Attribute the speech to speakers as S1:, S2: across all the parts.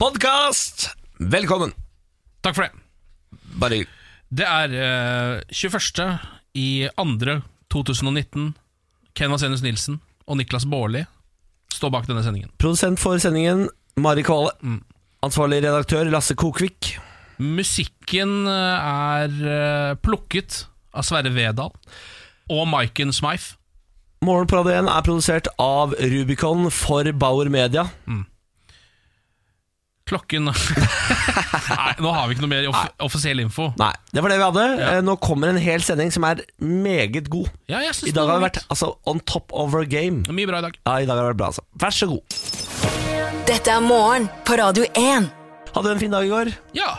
S1: podkast! Velkommen!
S2: Takk for det.
S1: Bare
S2: Det er eh, 21. i 2. 2019. Ken Vasenius Nilsen og Niklas Baarli står bak denne sendingen.
S1: Produsent for sendingen, Mari Kvale. Ansvarlig redaktør, Lasse Kokvik.
S2: Musikken eh, er eh, plukket av Sverre Vedal og Maiken Smythe.
S1: Morgen på Radio 1 er produsert av Rubicon for Bauer Media.
S2: Klokken Nei, nå har vi ikke noe mer off offisiell info.
S1: Nei, det var det vi hadde.
S2: Ja.
S1: Eh, Nå kommer en hel sending som er meget god.
S2: Ja, jeg synes
S1: I dag
S2: det
S1: har
S2: var
S1: vi vært altså, on top of our game.
S2: litt- mye bra i dag.
S1: Ja, i dag har det vært bra, altså. Vær så god.
S3: Dette er morgen på Radio 1.
S1: Hadde du en fin dag i går?
S2: Ja.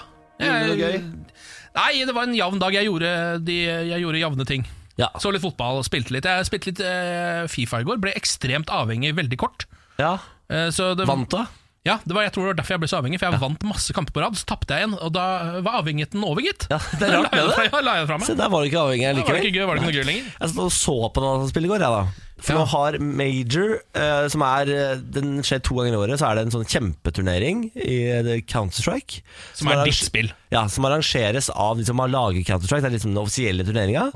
S1: Gjorde du noe
S2: jeg- Nei, det var en jevn dag. Jeg gjorde, de, jeg gjorde jevne ting.
S1: Ja. altså.
S2: Så litt fotball, spilte litt. Jeg spilte litt eh, Fifa i går. Ble ekstremt avhengig veldig kort.
S1: ja.
S2: Eh, så det,
S1: Vant du?
S2: Ja, det var, jeg tror det var derfor jeg ble så avhengig, for jeg vant masse kamper på rad. Så tapte jeg igjen, og da var avhengigheten over, gitt.
S1: Ja, det er rart
S2: Da
S1: med
S2: la jeg
S1: det.
S2: fra- la jeg fra meg.
S1: Se, der var du ikke avhengig
S2: Da var det
S1: likevel.
S2: ikke gøy, var det ikke noe gøy lenger?
S1: Jeg satt og så på dataspill i går, jeg da. For
S2: Ja.
S1: nå har Major, eh, som er eh, Den skjer to ganger i året, så er det en sånn kjempeturnering i eh, Counter-Strike.
S2: Som er ditt
S1: arrange-
S2: spill.
S1: Ja, som arrangeres av de som har laget Counter-Strike. Det er liksom den offisielle turneringa.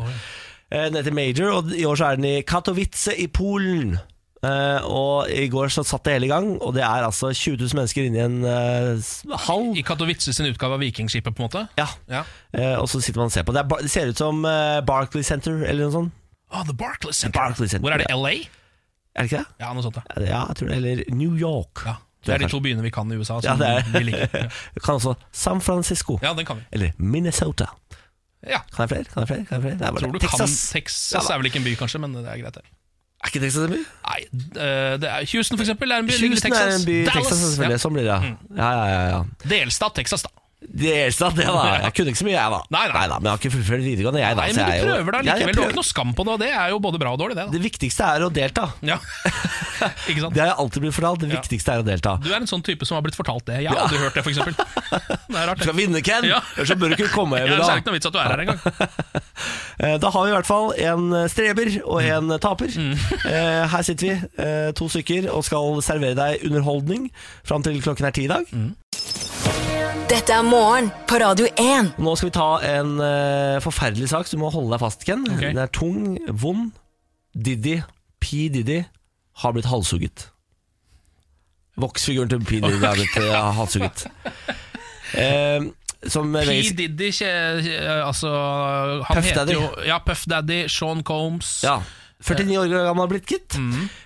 S1: Eh, Den heter Major, og i år så er den i Katowice i Polen. Eh, og i går så satt det hele i gang, og det er altså 20 000 mennesker inni en eh, s- hall.
S2: I Katowice sin utgave av Vikingskipet, på en måte.
S1: Ja,
S2: Ja.
S1: eh, og så sitter man og ser på. Det, er, ba- det ser ut som eh, Barclay Center eller noe sånt.
S2: Ah, The Barclays Center.
S1: Barclays Center,
S2: Hvor er det? LA?
S1: Er det ikke det?
S2: Ja, noe sånt. Ja.
S1: Ja, jeg tror det. Eller New York.
S2: Ja. Det er de to byene vi kan i USA.
S1: Ja,
S2: Som
S1: det er-
S2: vi liker. Ja.
S1: Du kan også San Francisco.
S2: ja, den kan vi.
S1: Eller Minnesota.
S2: Ja.
S1: Kan jeg flere? Kan jeg flere? Kan jeg flere? Det er bare
S2: Tror du
S1: Texas.
S2: Texas. kan Texas
S1: Ja,
S2: er vel ikke en by, kanskje, men det er greit, det.
S1: da. Er ikke Texas en by?
S2: Nei, eh, det er Houston, for eksempel, er en by. ligger i
S1: Houston er en by i
S2: Dallas, Mm.
S1: Texas, selvfølgelig. Sånn blir det. ja. Ja, ja, ja. ja.
S2: Ja. Delstat Texas, da.
S1: Det er sant, det, da. Jeg kunne ikke så mye, jeg, da.
S2: Nei, nei.
S1: da men jeg har ikke fullført videregående, jeg, da.
S2: Nei,
S1: så
S2: men
S1: altså, jeg er
S2: du
S1: jo-
S2: prøver da
S1: Ja, jeg
S2: likevel. Du har
S1: prøver.
S2: ikke noe skam på det, og det er jo både bra og dårlig, det. da
S1: Det viktigste er å delta.
S2: Ja, ikke sant?
S1: Det har jeg alltid blitt fortalt. Det
S2: Ja.
S1: viktigste er å delta.
S2: Du er en sånn type som har blitt fortalt det. Jeg har aldri hørt det, for eksempel. Det er rart.
S1: Du skal
S2: det.
S1: vinne, Ken!
S2: Ja.
S1: Ellers så bør du ikke komme
S2: Ja,
S1: hjem i
S2: det er
S1: dag.
S2: ikke noe vits at du er her engang.
S1: Eh, Da har vi i hvert fall en eh, streber og
S2: Mm.
S1: en taper. Eh, Her sitter vi, eh, to stykker, og skal servere deg underholdning fram til klokken er ti i dag.
S3: Dette er morgen på Radio 1.
S1: Nå skal vi ta en eh, forferdelig sak, så du må holde deg fast, Ken.
S2: Ok.
S1: Den er tung, vond. Diddy, P. Diddy, har blitt halshugget. Voksfiguren til P. Diddy har blitt eh, halshugget. Eh, som
S2: P.
S1: VG
S2: Diddy, kje, kje- altså han
S1: Puff
S2: heter
S1: Daddy.
S2: Jo, ja, Puff Daddy, Sean Combs.
S1: Ja 49 år gammel har blitt gitt.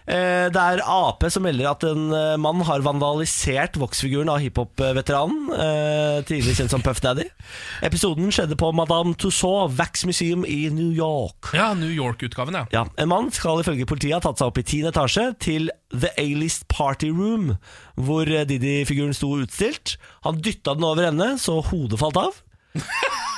S1: Eh, Det er Ap som melder at en eh, mann har vandalisert voksfiguren av hiphop-veteranen, eh, tidligere kjent som Puff Daddy. Episoden skjedde på Madame Tussauds Wax Museum i New York.
S2: Ja, New York-utgaven, ja.
S1: Ja, En mann skal ifølge politiet ha tatt seg opp i 10. etasje til The A-List Party Room, hvor eh, Didi-figuren sto utstilt. Han dytta den over ende, så hodet falt av.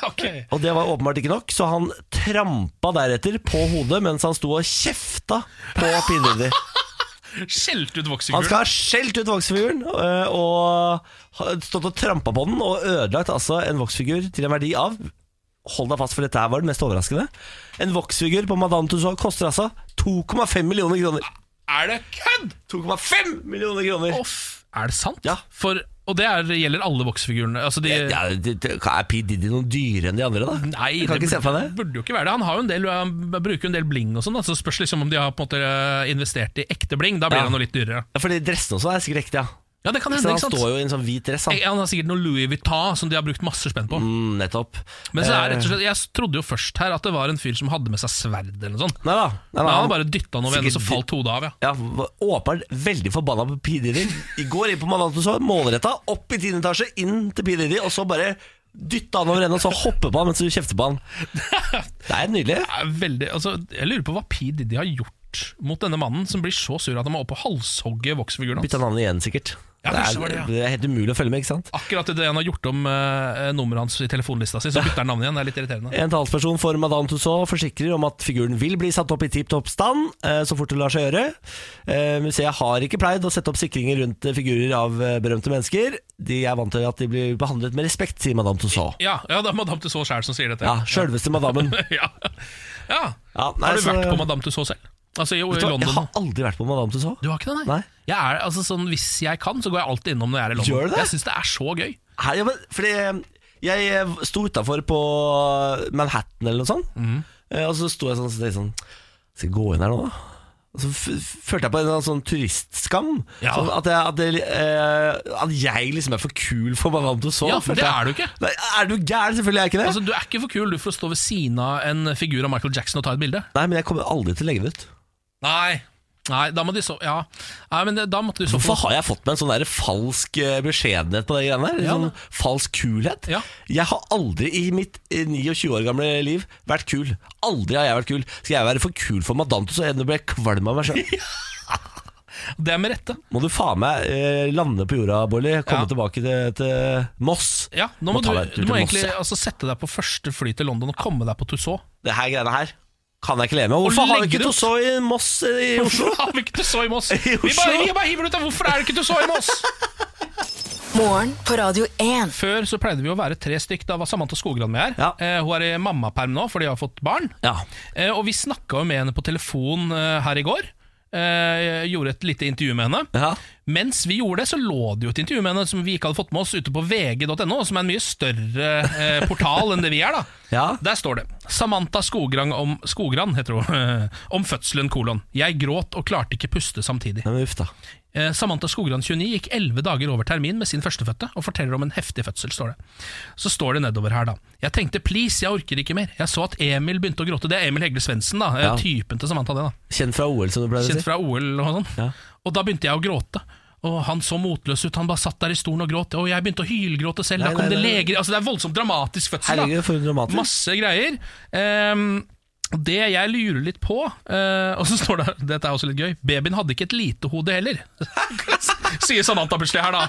S2: Ok.
S1: Og det var åpenbart ikke nok, så han trampa deretter på hodet mens han sto og kjefta på P. Diddy.
S2: Skjelt ut
S1: Han
S2: voksefiguren.
S1: skal ha skjelt ut voksfiguren eh, og ha stått og trampa på den og ødelagt altså en voksfigur til en verdi av Hold deg fast, for dette her var det mest overraskende. En voksfigur på Madame Tussauds koster altså 2,5 millioner kroner.
S2: Er det kødd?!
S1: 2,5 millioner kroner.
S2: Off. Er det sant?
S1: Ja.
S2: For, og det er, gjelder alle voksefigurene. Altså de,
S1: Ja, det, det, er P. Diddy noen dyrere enn de andre, da?
S2: Nei,
S1: Du kan ikke se for deg det?
S2: burde jo ikke være det. Han, har jo en del, han bruker jo en del bling og sånn, da, så det spørs liksom om de har på en måte eh, investert i ekte bling. Da blir
S1: Ja.
S2: det noe litt dyrere.
S1: Ja, fordi dressene også er sikkert ekte, ja.
S2: Ja, det kan
S1: Så han
S2: hende, Mm, ikke sant?
S1: står jo i en sånn hvit dress, han.
S2: Eh, Han har sikkert noe Louis Vuitton som de har brukt masse spenn på.
S1: Mm, Eh. nettopp.
S2: Men så er det rett og slett, jeg trodde jo først her at det var en fyr som hadde med seg sverd eller noe sånt.
S1: Nei da. Nei,
S2: Men
S1: da,
S2: han
S1: han-
S2: hadde bare dytta noe ved henne,
S1: Sikkert
S2: så falt hodet av, ja.
S1: ja, var åpenbart veldig forbanna på P. Diddy. I går inn på Malantusson, målretta, opp i 10. etasje, inn til P. Diddy, og så bare dytta han over ende, og så hoppe på han mens du kjefter på han. Det er nydelig.
S2: Det er Veldig, altså, jeg lurer på hva P. Diddy har gjort mot denne mannen som blir så sur at han må opp og halshogge voksfiguren hans.
S1: Bytta navn igjen, sikkert.
S2: Ja,
S1: det,
S2: kanskje
S1: er,
S2: var det, ja.
S1: det er helt umulig å følge med, ikke sant?
S2: Akkurat idet han har gjort om eh, nummeret hans i telefonlista si, så bytter han navnet igjen. Det er litt irriterende.
S1: En talsperson for Madame Tussauds forsikrer om at figuren vil bli satt opp i tipp topp stand eh, så fort det lar seg gjøre. Eh, Museet har ikke pleid å sette opp sikringer rundt eh, figurer av eh, berømte mennesker. De er vant til at de blir behandlet med respekt, sier Madame Tussauds.
S2: Ja, ja det er Madame Tussauds sjæl som sier dette.
S1: Ja, sjølveste madammen.
S2: ja. ja.
S1: Ja, nei,
S2: Har du
S1: så-
S2: vært på Madame Tussauds selv? Altså i, i
S1: Vet du hva, Jeg
S2: London.
S1: har aldri vært på Madame Tussauds.
S2: Du har ikke det, nei?
S1: Nei.
S2: Jeg er, altså, sånn, hvis jeg kan, så går jeg alltid innom når jeg er i London.
S1: Gjør du det?
S2: Jeg syns det er så gøy.
S1: Her, ja, men, fordi jeg eh, sto utafor på eh, Manhattan eller noe sånt,
S2: Mhm.
S1: eh, og så sto jeg sånn og så tenkte jeg sånn Skal jeg gå inn her nå, da? Og så f følte jeg på en eller annen sånn turistskam.
S2: Ja.
S1: Sånn at, jeg, at, jeg, eh, at jeg liksom er for kul for Madame Tussauds.
S2: Ja, for
S1: følte
S2: det
S1: jeg.
S2: er du ikke.
S1: Nei, er du gæren? Selvfølgelig er jeg ikke det.
S2: Altså, Du er ikke for kul du for å stå ved siden av en figur av Michael Jackson og ta et bilde.
S1: Nei, men jeg kommer aldri til å legge det ut.
S2: Nei, Nei, da må de så Ja, Nei, men det, da måtte de så
S1: Hvorfor har jeg fått meg en sånn der falsk eh, beskjedenhet på de greiene der? En
S2: Ja,
S1: sånn falsk kulhet?
S2: Ja.
S1: Jeg har aldri i mitt eh, 29 år gamle liv vært kul. Aldri har jeg vært kul. Skal jeg være for kul for Madame Tussauds? Nå blir jeg kvalm av meg sjøl.
S2: Det er med rette.
S1: Må du faen meg eh, lande på jorda, Bolly. Komme
S2: Ja.
S1: tilbake til, til Moss.
S2: Ja, nå må,
S1: ta deg en
S2: du,
S1: tur
S2: du må
S1: til
S2: egentlig
S1: Moss, ja.
S2: altså, sette deg på første fly til London og komme deg på Tussauds.
S1: Det her greiene her kan jeg ikke leve med. Hvorfor har vi
S2: legger
S1: ikke
S2: ut-
S1: Tussauds i Moss eh, i Oslo?
S2: Hvorfor har vi ikke Tussauds i Moss?
S1: I
S2: Vi bare,
S1: Oslo?
S2: vi bare hiver det ut av Hvorfor er det ikke Tussauds i Moss?
S3: Morgen på Radio 1.
S2: Før så pleide vi å være tre stykk. Da var Samantha Skogran med her.
S1: Ja.
S2: Eh, hun er i mammaperm nå, for de har fått barn.
S1: Ja.
S2: Eh, og vi snakka jo med henne på telefon eh, her i går. Eh, jeg gjorde et lite intervju med henne.
S1: ja.
S2: Mens vi gjorde det, så lå det jo et intervju med henne som vi ikke hadde fått med oss ute på vg.no, som er en mye større eh, portal enn det vi er, da.
S1: Ja.
S2: Der står det Samantha Skograng om, Skogran heter hun, om fødselen kolon. Jeg gråt og klarte ikke puste samtidig.
S1: Nei, men uff da.
S2: Eh, Samantha Skogran 29 gikk 11 dager over termin med sin førstefødte og forteller om en heftig fødsel, står det. Så står det nedover her, da. Jeg tenkte please, jeg orker ikke mer. Jeg så at Emil begynte å gråte. Det er Emil Hegle Svendsen, da. eh,
S1: Ja.
S2: Typen til Samantha, det, da
S1: Kjent fra OL, som du pleier å
S2: kjent
S1: si.
S2: fra OL og sånn.
S1: Ja.
S2: Og da begynte jeg å gråte. Og han så motløs ut, han bare satt der i stolen og gråt. Og jeg begynte å hylgråte selv.
S1: Nei,
S2: da kom
S1: nei,
S2: det
S1: nei.
S2: leger Altså Det er voldsomt dramatisk fødsel.
S1: Herregud,
S2: da
S1: for en dramatisk.
S2: Masse greier. Ehm, det jeg lurer litt på eh, Og så står det her, dette er også litt gøy, babyen hadde ikke et lite hode heller. Sier Samantha plutselig her, da.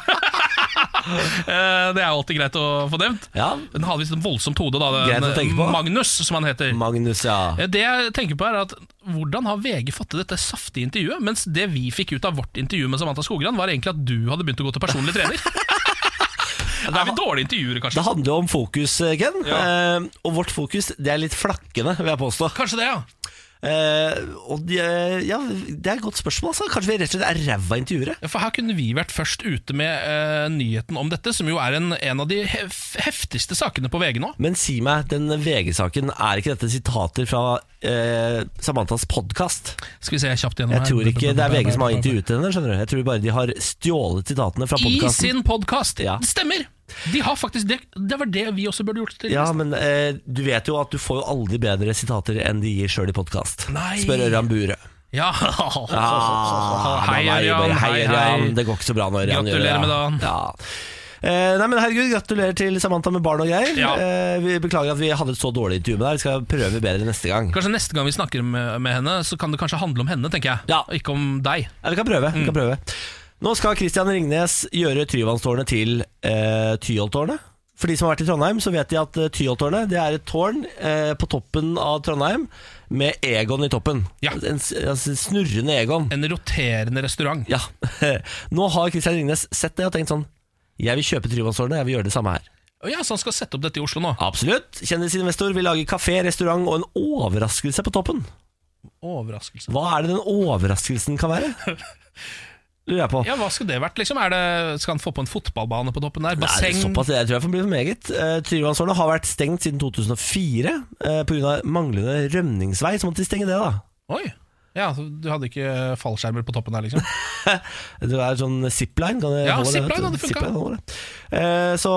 S2: Eh, det er jo alltid greit å få nevnt.
S1: Ja.
S2: Den hadde visst et voldsomt hode, da.
S1: Greit å tenke
S2: Den,
S1: på.
S2: Magnus, som han heter.
S1: Magnus, ja.
S2: Eh, Det jeg tenker på er at Hvordan har VG fattet dette saftige intervjuet? Mens det vi fikk ut av vårt intervju med Samantha Skogran, var egentlig at du hadde begynt å gå til personlig trener. Det er vi dårlige intervjuere,
S1: Det
S2: kanskje.
S1: handler jo om fokus, Ken.
S2: Ja.
S1: Eh, og vårt fokus det er litt flakkende, vil jeg påstå.
S2: Kanskje det, ja.
S1: Eh, og de, ja, det er et godt spørsmål. Altså. Kanskje vi rett og slett er ræva intervjuere?
S2: Ja, For her kunne vi vært først ute med eh, nyheten om dette, som jo er en, en av de hef heftigste sakene på VG nå.
S1: Men si meg, den VG-saken, er ikke dette sitater fra eh, Samanthas podkast?
S2: Skal vi se kjapt gjennom
S1: Jeg tror ikke det er VG som har intervjuet henne. skjønner du Jeg tror bare de har stjålet sitatene fra
S2: I
S1: podkasten.
S2: sin podkast!
S1: Ja.
S2: Det stemmer! De har faktisk det, det var det vi også burde gjort. til
S1: Ja, men eh, du vet jo at du får jo aldri bedre sitater enn de gir sjøl i podkast.
S2: Nei.
S1: Spør Ørjan Bure.
S2: ja.
S1: Ah,
S2: Hei,
S1: da var jeg
S2: Ørjan.
S1: bare, Hei,
S2: Hei, hei.
S1: Ørjan. Det går ikke så bra nå. Ørjan,
S2: Gratulerer
S1: gjør det,
S2: med
S1: ja.
S2: dagen.
S1: Ja. Eh, nei, men herregud, Gratulerer til Samantha med barn og greier.
S2: Ja.
S1: Eh, vi beklager at vi hadde et så dårlig intervju med deg. Vi skal prøve bedre neste gang.
S2: Kanskje neste gang vi snakker med, med henne, så kan det kanskje handle om henne, tenker jeg.
S1: Ja.
S2: Og Ikke om deg.
S1: Ja, vi kan prøve.
S2: Mm.
S1: Vi kan prøve. Nå skal Christian Ringnes gjøre Tryvannstårnet til eh, Tyholttårnet. For de som har vært i Trondheim, så vet de at eh, Tyholttårnet det er et tårn eh, på toppen av Trondheim med Egon i toppen.
S2: Ja.
S1: En, s- altså, snurrende Egon.
S2: En roterende restaurant.
S1: Ja. Nå har Christian Ringnes sett det og tenkt sånn Jeg vil kjøpe Tryvannstårnet, jeg vil gjøre det samme her.
S2: Å Ja, Så han skal sette opp dette i Oslo nå?
S1: Absolutt. Kjendisinvestor vil lage kafé, restaurant og en overraskelse på toppen.
S2: Overraskelse.
S1: Hva er det den overraskelsen kan være? Lurer jeg på.
S2: Ja, Hva skulle det vært? liksom? Er det, skal han få på en fotballbane på toppen der?
S1: Nei,
S2: Basseng?
S1: såpass, jeg tror jeg får bli for meget. Uh, Tryvannstårnet har vært stengt siden 2004 uh, pga. manglende rømningsvei. Så måtte de stenge det, da.
S2: Oi! Ja, så Du hadde ikke fallskjermer på toppen der, liksom?
S1: Det er sånn zipline. Kan det
S2: Ja,
S1: holde det,
S2: zipline
S1: vet du?
S2: hadde funket.
S1: Zipline holder det. Eh, så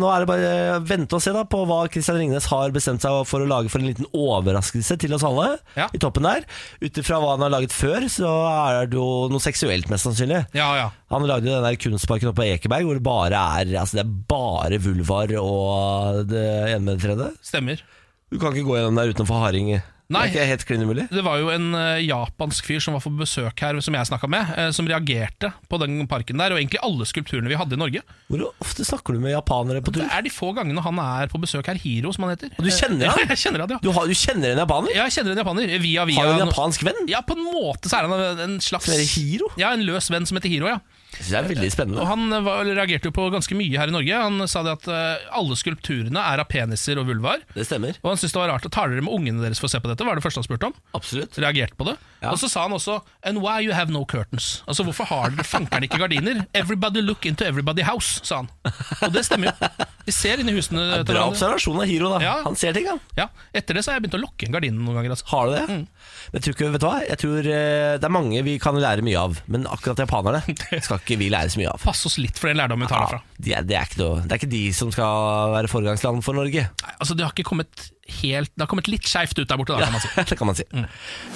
S1: nå er det bare å vente og se da på hva Kristian Ringnes har bestemt seg for å lage for en liten overraskelse til oss alle.
S2: Ja.
S1: I toppen der Ut ifra hva han har laget før, så er det jo noe seksuelt, mest sannsynlig.
S2: Ja, ja.
S1: Han lagde den der kunstparken oppe på Ekeberg hvor det bare er Altså det er bare vulvar og det ene med det tredje.
S2: Stemmer.
S1: Du kan ikke gå gjennom der uten å få harding.
S2: Nei.
S1: Det er ikke helt klin umulig.
S2: Det var jo en eh, japansk fyr som var på besøk her, som jeg snakka med, eh, som reagerte på den parken der, og egentlig alle skulpturene vi hadde i Norge.
S1: Hvor ofte snakker du med japanere på tur?
S2: Det er de få gangene han er på besøk her. Hiro, som han heter.
S1: Og du kjenner
S2: han?
S1: han?
S2: Ja, jeg kjenner han, ja.
S1: Du, har, du kjenner en japaner?
S2: Jeg kjenner en japaner. Via, via
S1: Har du en japansk venn?
S2: Ja, på en måte så er han en slags
S1: Som heter Hiro?
S2: Ja, en løs venn som heter Hiro, ja.
S1: Det er veldig
S2: Og
S1: spennende.
S2: Han eh, var, reagerte jo på ganske mye her i Norge. Han sa det at eh, alle skulpturene er av peniser og vulvar.
S1: Det stemmer.
S2: Og han syntes det var rart at Tar dere med ungene deres for å se på dette? var det første han spurte om.
S1: Absolutt.
S2: Reagerte på det.
S1: Ja.
S2: Og så sa han også And why you have no curtains? Altså hvorfor har dere fankeren ikke gardiner? Everybody look into everybody house, sa han. Og det stemmer jo. Vi ser inni husene. til
S1: Bra
S2: hverandre.
S1: observasjon av Hiro, da.
S2: Ja.
S1: Han ser ting, han.
S2: Ja, Etter det så har jeg begynt å lukke inn gardinene noen ganger. Altså.
S1: Har du det? Men jeg tror ikke, vet du hva? Jeg tror eh, det er mange vi kan lære mye av, men akkurat japanerne skal ikke vi lære så mye av.
S2: Pass oss litt for den lærdommen vi tar derfra.
S1: Ja, de er, det, er ikke noe, det er ikke de som skal være foregangsland for Norge.
S2: Nei, Altså, det har ikke kommet helt Det har kommet litt skeivt ut der borte, da, kan man si. Mm.
S1: Det kan man si.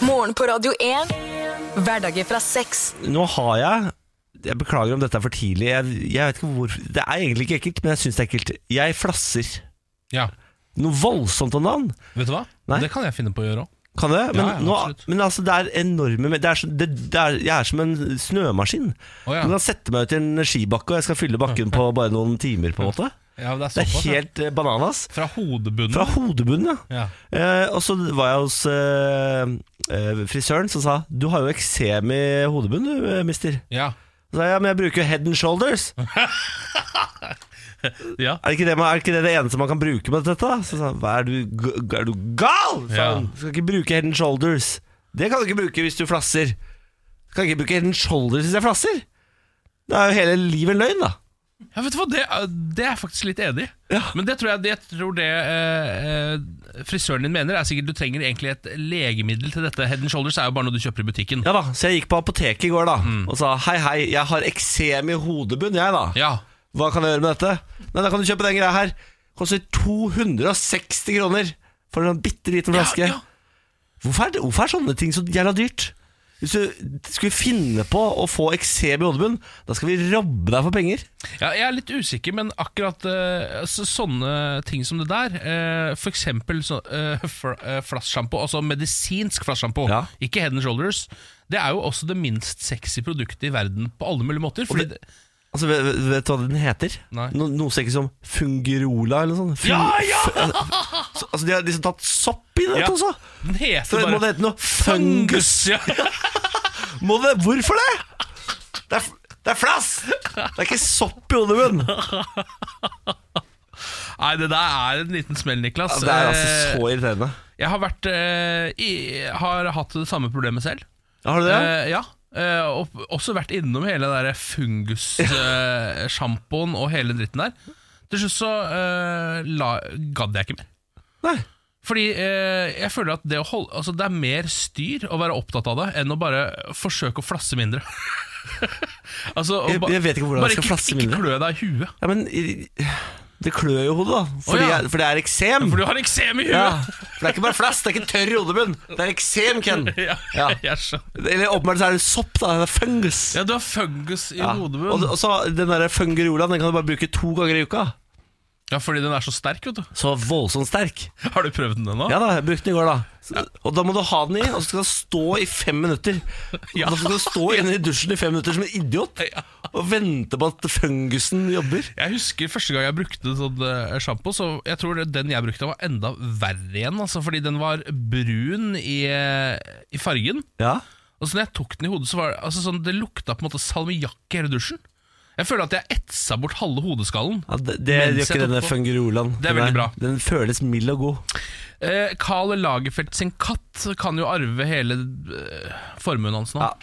S3: Morgen på Radio 1. Hverdager fra seks.
S1: Nå har jeg Jeg beklager om dette er for tidlig. Jeg, jeg vet ikke hvorfor Det er egentlig ikke ekkelt, men jeg syns det er ekkelt. Jeg flasser.
S2: Ja,
S1: Noe voldsomt om dagen.
S2: Vet du hva?
S1: Nei.
S2: Det kan jeg finne på å gjøre òg.
S1: Kan det? Men,
S2: Ja, ja,
S1: nå,
S2: absolutt.
S1: men altså, det er enorme det er, så- det, det er, Jeg er som en snømaskin.
S2: Å, ja.
S1: Du kan sette meg ut i en skibakke, og jeg skal fylle bakken på bare noen timer. på en måte
S2: Ja, det
S1: Det
S2: er
S1: er
S2: såpass, ja.
S1: helt eh, bananas.
S2: Fra hodebunnen.
S1: Fra hodebunnen, ja.
S2: Ja.
S1: Eh, og så var jeg hos eh, eh, frisøren, som sa 'Du har jo eksem i hodebunnen, du, eh, mister'.
S2: Ja.
S1: Så sa jeg, ja, men jeg bruker jo head and shoulders.
S2: ja.
S1: Er det ikke det, man, er det, ikke det, det eneste man kan bruke med dette? da? Så sa han, hva er du, g- er du gal? Sa
S2: Ja.
S1: han, du skal ikke bruke head and shoulders. Det kan du ikke bruke hvis du flasser. Du kan ikke bruke head and shoulders hvis jeg flasser. Det er jo hele livet en løgn, da.
S2: Ja, vet du hva, det, er- det er jeg faktisk litt enig i.
S1: Ja.
S2: Men det tror jeg, det, jeg tror det eh, eh, frisøren din mener, er sikkert du trenger egentlig et legemiddel til dette. Head and shoulders er jo bare noe du kjøper i butikken.
S1: Ja da, Så jeg gikk på apoteket i går da og sa hei, hei, jeg har eksem i hodebunn, jeg, da.
S2: Mm. Ja.
S1: Hva kan jeg gjøre med dette? Nei, da kan du kjøpe den greia her. Koster 260 kroner for en sånn bitte liten flaske.
S2: Ja, ja.
S1: Hvorfor, er det, hvorfor er sånne ting så jævla dyrt? Hvis du skulle finne på å få eksem i hodebunnen, da skal vi robbe deg for penger.
S2: Ja, jeg er litt usikker, men akkurat eh, så, sånne ting som det der, eh, for eksempel så, eh, fl eh, flasssjampo, altså medisinsk flasssjampo,
S1: Ja.
S2: ikke head and shoulders, det er jo også det minst sexy produktet i verden på alle mulige måter. Fordi det,
S1: Altså, Vet, vet du hva den heter?
S2: Nei.
S1: No, noe som ikke som Fungerola eller noe sånt. Fung-
S2: Ja, ja!
S1: f- altså, altså, De har liksom tatt sopp i det
S2: Ja.
S1: også.
S2: den
S1: Så
S2: heter
S1: det må
S2: bare
S1: det hete noe fungus.
S2: Ja.
S1: Må det, hvorfor det? Det er, f- det er flass! Det er ikke sopp i hodebunnen.
S2: Nei, det der er en liten smell, Niklas.
S1: Altså, det er altså
S2: Eh,
S1: så irriterende.
S2: Jeg har, vært, eh, i, har hatt det samme problemet selv.
S1: Har du det?
S2: Eh, ja. Eh, og også vært innom hele den der fungussjampoen og hele den dritten der. Til slutt så eh, la, gadd jeg ikke mer.
S1: Nei.
S2: Fordi eh, jeg føler at det, å holde, altså det er mer styr å være opptatt av det enn å bare forsøke å flasse mindre. altså, og
S1: Jeg- jeg vet ikke hvordan jeg
S2: bare
S1: skal flasse mindre.
S2: Ikke klø deg i huet.
S1: Ja, men i- det klør jo hodet, da. Fordi
S2: ja.
S1: jeg, for det er eksem.
S2: For du har eksem i
S1: Ja,
S2: huet!
S1: for det er ikke bare flass, det er ikke tørr hodebunn. Det er eksem, Ken.
S2: Ja.
S1: Ja.
S2: jeg skjønner.
S1: Eller åpenbart så er det sopp, da. Det er fungus.
S2: Ja, du har fungus i
S1: Ja. Og,
S2: hodebunnen.
S1: og så Den der fungerolaen Den kan du bare bruke to ganger i uka.
S2: Ja, fordi den er så sterk, vet du.
S1: Så voldsomt sterk.
S2: Har du prøvd den ennå?
S1: Ja da, jeg brukte den i går, da. Så, Og da må du ha den i, og så skal den stå i fem minutter.
S2: Ja.
S1: Og Da skal du stå inne i dusjen i fem minutter som en idiot
S2: Ja.
S1: og vente på at fungusen jobber.
S2: Jeg husker første gang jeg brukte sånn eh, sjampo, så jeg tror det- den jeg brukte var enda verre igjen, altså, fordi den var brun i, eh, i fargen.
S1: Ja
S2: Og så når jeg tok den i hodet, så var det, altså, sånn, det lukta på en måte salmiakk i hele dusjen. Jeg føler at jeg etsa bort halve hodeskallen.
S1: Ja, det det
S2: Mens
S1: gjør
S2: jeg
S1: ikke
S2: tok
S1: denne
S2: på.
S1: fungerolaen.
S2: Det er
S1: Den
S2: veldig bra.
S1: Den føles mild og god.
S2: Eh, Carl Lagerfeldt sin katt kan jo arve hele eh, formuen hans nå.
S1: Ja.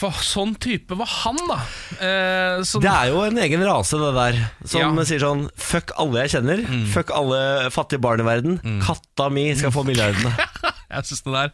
S2: For sånn type var han, da. Eh, så,
S1: Det er jo en egen rase, det der, som
S2: Ja.
S1: sier sånn Fuck alle jeg kjenner. Fuck alle fattige barn i verden. Katta mi skal få milliardene.
S2: Jeg synes det der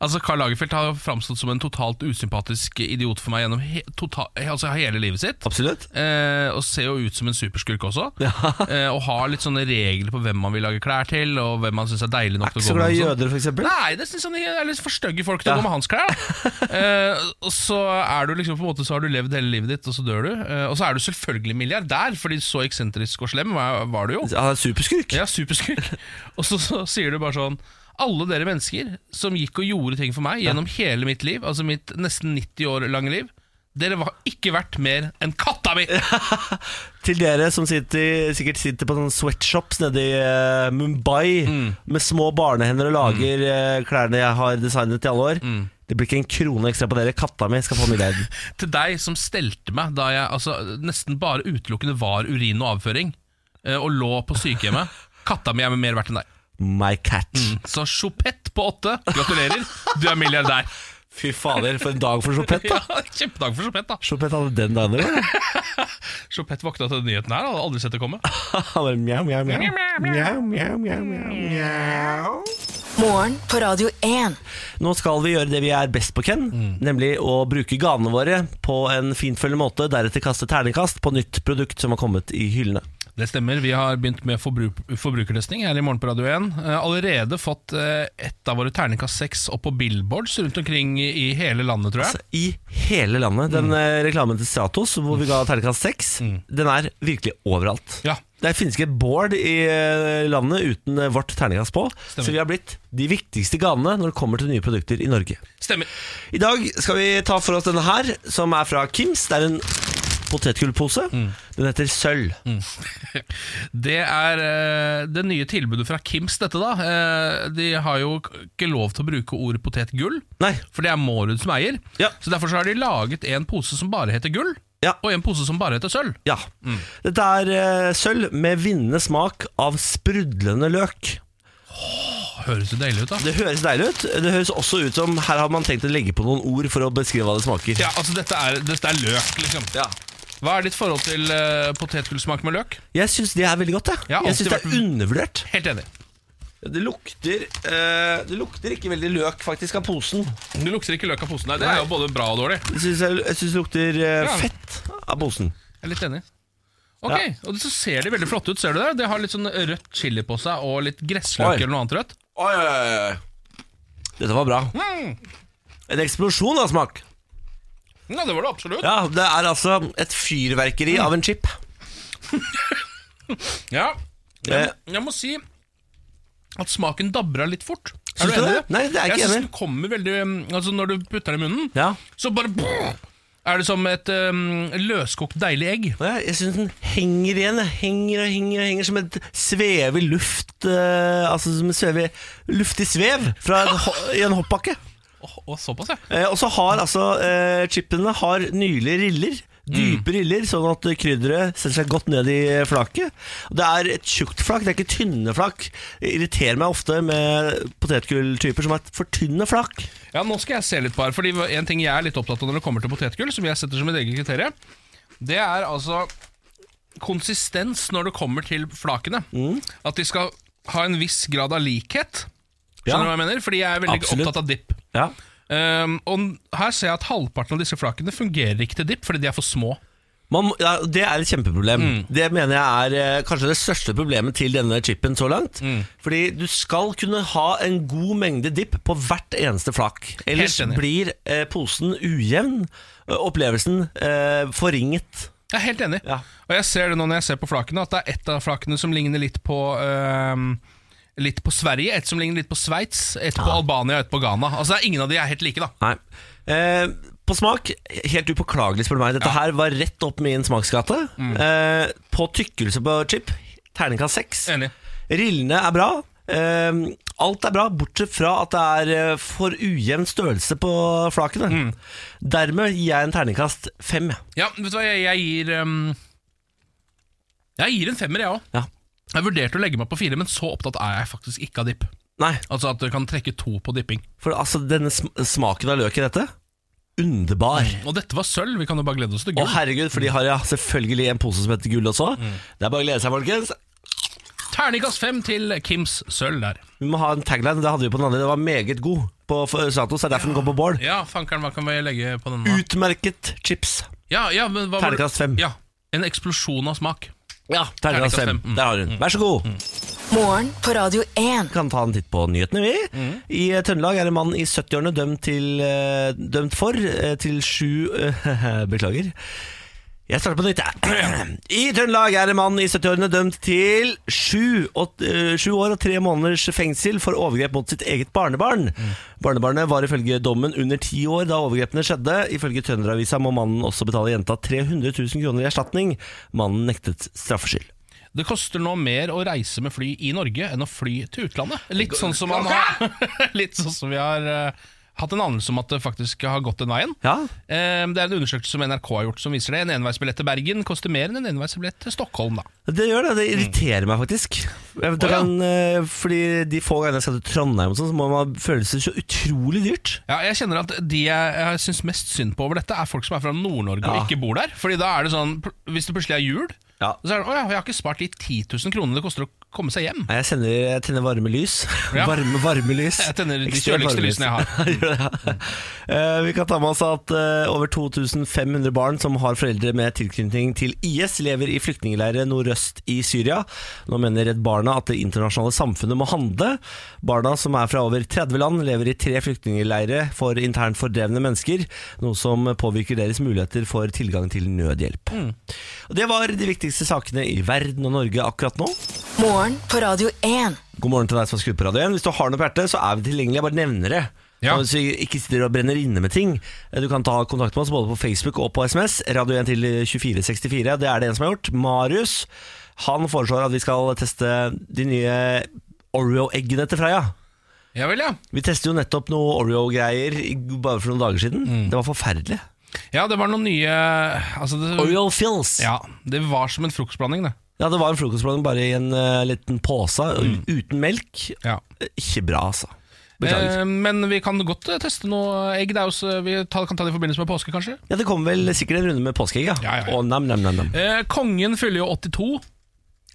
S2: Altså Karl Lagerfeldt har framstått som en totalt usympatisk idiot for meg gjennom he tota altså hele livet sitt.
S1: Absolutt.
S2: Eh, og ser jo ut som en superskurk også. Eh, og har litt sånne regler på hvem man vil lage klær til, og hvem man syns er deilig nok
S1: Er
S2: til
S1: ikke så
S2: å gå
S1: glad
S2: med.
S1: i
S2: og sånn.
S1: jøder, for eksempel.
S2: Nei, det synes han ikke- det er litt for stygge folk til å gå med hans klær. da. eh, og så er du liksom på en måte Så har du levd hele livet ditt, og så dør du. Eh, og så er du selvfølgelig milliardær, fordi så eksentrisk og slem var, var du jo.
S1: Han er superskurk.
S2: Ja, superskurk. Og så, så sier du bare sånn Alle dere mennesker som gikk og gjorde ting for meg gjennom hele mitt liv, altså mitt nesten 90 år lange liv, dere var ikke verdt mer enn katta mi!
S1: Til dere som sitter, sikkert sitter på sånne sweatshops nede i eh, Mm. Mumbai med små barnehender og lager eh, klærne jeg har designet i alle år. Det blir ikke en krone ekstra på dere. Katta mi skal få middagen.
S2: Til deg som stelte meg da jeg altså, nesten bare utelukkende var urin og avføring, eh, og lå på sykehjemmet. Katta mi er mer verdt enn deg.
S1: My cat.
S2: Så Chopette på åtte, gratulerer. Du er milliardær.
S1: Fy fader, for en dag for Chopet,
S2: Ja,
S1: da.
S2: Kjempedag for Chopette, da.
S1: Chopet hadde den dagen, eller?
S2: Chopette våkna til den nyheten her, han hadde aldri sett det komme.
S1: Han bare mjau, mjau, mjau. Mjau, mjau, mjau, mjau, mjau.
S3: Morgen på Radio 1.
S1: Nå skal vi gjøre det vi er best på, Ken.
S2: Mm.
S1: Nemlig å bruke ganene våre på en fintfølgende måte, deretter kaste terningkast på nytt produkt som har kommet i hyllene.
S2: Det stemmer, vi har begynt med forbruk forbrukertesting her i morgen på Radio 1. Eh, Allerede fått eh, ett av våre terningkast seks opp på billboards rundt omkring i i hele landet, tror jeg.
S1: I hele landet.
S2: Mm.
S1: Den eh, reklamen til Stratos hvor vi ga terningkast seks, den er virkelig overalt.
S2: Ja,
S1: Det finnes ikke et board i eh, landet uten eh, vårt terningkast på,
S2: Stemmer.
S1: så vi har blitt de viktigste ganene når det kommer til nye produkter i Norge.
S2: stemmer.
S1: I dag skal vi ta for oss denne her, som er fra Kims. Det er en potetgullpose.
S2: Mm.
S1: Den heter Sølv.
S2: Det er eh, det nye tilbudet fra Kims, dette da. Eh, de har jo k- ikke lov til å bruke ordet potetgull,
S1: Nei,
S2: for det er Mårud som eier.
S1: Ja.
S2: Så derfor så har de laget en pose som bare heter gull,
S1: Ja.
S2: og en pose som bare heter sølv.
S1: ja.
S2: Mm.
S1: Dette er eh, sølv med vinnende smak av sprudlende løk.
S2: Høres jo deilig ut, da.
S1: Det høres deilig ut. Det høres også ut som her har man tenkt å legge på noen ord for å beskrive hva det smaker.
S2: Ja, altså dette er, dette er løk, liksom.
S1: Ja.
S2: Hva er ditt forhold til eh, potetgullsmak med løk?
S1: Jeg syns det er veldig godt. Jeg,
S2: Ja,
S1: jeg synes det
S2: alltid
S1: er undervurdert.
S2: Helt enig.
S1: Det lukter, eh, ikke veldig løk faktisk av posen.
S2: Det lukter ikke løk av posen. Nei, det er jo både bra og dårlig.
S1: Jeg syns det lukter eh,
S2: Ja.
S1: fett av posen.
S2: Jeg er litt enig. Ok, og så ser de veldig flotte ut, ser du det? De har litt sånn rødt chili på seg, og litt
S1: Oi.
S2: gressløk eller noe annet rødt.
S1: Oi, oi, oi. Dette var bra.
S2: Mm.
S1: En eksplosjon av smak.
S2: Ja, det var det absolutt.
S1: Ja, Det er altså et fyrverkeri
S2: Mm.
S1: av en chip.
S2: Ja.
S1: Eh,
S2: Jeg, jeg må si at smaken dabra litt fort.
S1: Syns du det? Nei, det er jeg ikke enig
S2: jeg
S1: i.
S2: synes den kommer veldig um, Altså, når du putter den i munnen,
S1: Ja.
S2: så bare Er det som et um, løskokt, deilig egg?
S1: Og Jeg, jeg syns den henger igjen. jeg. Henger og henger og henger som et svev i luft. eh, altså som et svev i, luftig svev fra en, ho- i en hoppbakke.
S2: Å, å, såpass, ja.
S1: Eh, og så har altså eh, chipene har nylige riller. Dype riller, sånn at krydderet setter seg godt ned i flaket. Og Det er et tjukt flak, det er ikke tynne flak. Det irriterer meg ofte med potetgulltyper som har et for tynne flak.
S2: Ja, nå skal jeg se litt på her, fordi en ting jeg er litt opptatt av når det kommer til potetgull, som jeg setter som et eget kriterium, det er altså konsistens når det kommer til flakene.
S1: Mm.
S2: At de skal ha en viss grad av likhet. Skjønner du
S1: Ja.
S2: hva jeg mener? Fordi jeg er veldig
S1: Absolutt.
S2: opptatt av dipp.
S1: Ja.
S2: Um, og n- her ser jeg at halvparten av disse flakene fungerer ikke til dipp, fordi de er for små.
S1: Man, må- ja, det er et kjempeproblem. Det mener jeg er eh, kanskje det største problemet til denne chipen så langt. Fordi du skal kunne ha en god mengde dipp på hvert eneste flak. Ellers
S2: enig.
S1: blir eh, posen ujevn, eh, opplevelsen eh, forringet.
S2: Jeg er helt enig.
S1: Ja.
S2: Og jeg ser det nå når jeg ser på flakene, at det er ett av flakene som ligner litt på um, Litt på Sverige, et som ligner litt på Sveits, et på Albania og et på Ghana. Altså det er Ingen av de er helt like, da.
S1: Nei. Eh, på smak, helt upåklagelig spør du meg. Dette her var rett opp min smaksgate. Eh, på tykkelse på chip, terningkast seks.
S2: Enig.
S1: Rillene er bra. Eh, alt er bra, bortsett fra at det er eh, for ujevn størrelse på flakene.
S2: Mm.
S1: Dermed gir jeg en terningkast fem. jeg.
S2: Ja, vet du hva, jeg, jeg gir ehm, Jeg gir en femmer, jeg òg.
S1: Ja.
S2: Jeg vurderte å legge meg på fire, men så opptatt er jeg faktisk ikke av dipp.
S1: Nei,
S2: Altså at du kan trekke to på dipping.
S1: for altså, denne sm smaken av løk i dette, underbar.
S2: Og dette var sølv, vi kan jo bare glede oss til
S1: Å
S2: gull.
S1: herregud, for de har ja, selvfølgelig en pose som heter gull også.
S2: Mm.
S1: Det er bare å glede seg, folkens.
S2: Terningkast fem til Kims sølv der.
S1: Vi må ha en tagline, det hadde vi på den andre. Det var meget god på Stratos. Det er derfor den går på bål.
S2: Ja, fankeren, hva kan vi legge på den? da?
S1: Utmerket chips.
S2: Ja, ja, men hva var det-
S1: Terningkast fem.
S2: Ja, En eksplosjon av smak.
S1: Ja, terningkast
S2: Terningkast
S1: fem.
S2: fem. Mm.
S1: Der har hun. Vær så god.
S3: Morgen på Radio 1.
S1: Kan ta en titt på nyhetene, vi. I eh, Trøndelag er en mann i 70-årene dømt, til, eh, dømt for eh, til sju eh, Beklager. Jeg starter på nytt, jeg. I Trøndelag er en mann i 70-årene dømt til sju, og, eh, sju år og tre måneders fengsel for overgrep mot sitt eget barnebarn. Barnebarnet var ifølge dommen under ti år da overgrepene skjedde. Ifølge Trønderavisa må mannen også betale jenta 300 000 kroner i erstatning. Mannen nektet straffskyld.
S2: Det koster nå mer å reise med fly i Norge enn å fly til utlandet. Litt sånn som, man har, litt sånn som vi har eh, hatt en anelse om at det faktisk har gått den veien.
S1: Ja.
S2: Eh, Det er en undersøkelse som NRK har gjort som viser det. En enveisbillett til Bergen koster mer enn en enveisbillett til Stockholm. da.
S1: Det gjør det. Det irriterer meg faktisk. Jeg, det
S2: Mm. Å, ja.
S1: kan, eh, fordi de få gangene jeg skal til Trondheim, og sånn, så må man føle seg så utrolig dyrt.
S2: Ja, jeg kjenner at De jeg, jeg syns mest synd på over dette, er folk som er fra Nord-Norge
S1: Ja.
S2: og ikke bor der. Fordi da er det sånn, pl- Hvis det plutselig er jul,
S1: Ja.
S2: så er det 'Å ja, jeg har ikke spart de 10 000 kronene det koster å komme seg hjem'.
S1: Nei, Jeg, sender, jeg tenner varme lys.
S2: Mm. Ja.
S1: Varme, varme lys.
S2: Jeg tenner de
S1: Ekstremt
S2: kjøligste
S1: varme lys.
S2: lysene jeg har.
S1: Gjør det, ja. Eh, vi kan ta med oss at eh, over 2500 barn som har foreldre med tilknytning til IS, lever i flyktningleirer nordøst i Syria. Nå mener Redd Barna at det internasjonale samfunnet må handle. Barna, som er fra over 30 land, lever i tre flyktningleirer for internt fordrevne mennesker, noe som påvirker deres muligheter for tilgang til nødhjelp.
S2: Mm.
S1: Og det var de viktigste sakene i verden og Norge akkurat nå.
S3: Morgen på Radio 1.
S1: God morgen til deg som har skrudd på radio 1. Hvis du har noe på hjertet, så er vi tilgjengelige. Jeg bare nevner det.
S2: Ja.
S1: Så vi ikke sitter og brenner inne med ting. Eh, Du kan ta kontakt med oss både på Facebook og på SMS. Radio 1 til 2464. Det er det en som har gjort. Marius han foreslår at vi skal teste de nye Oreo-eggene til Freia.
S2: Ja vel, ja.
S1: Vi testet jo nettopp noe Oreo-greier i- bare for noen dager siden.
S2: Mm.
S1: Det var forferdelig.
S2: Ja, det var noen nye altså det,
S1: Oreo fills. Ja.
S2: ja, det var som en frokostblanding, det.
S1: det var en frokostblanding bare i en eh, liten pose uten melk.
S2: Ja.
S1: Ikke bra, altså. Beklager.
S2: Mm. Eh, men vi kan godt eh, teste noe egg. Det er jo, så- vi ta- kan ta det i forbindelse med påske, kanskje.
S1: Ja, Det kommer vel sikkert en runde med påskeegg, ja.
S2: Ja, ja, ja.
S1: Og nam, nam, nam, nam.
S2: Eh, kongen fyller jo 82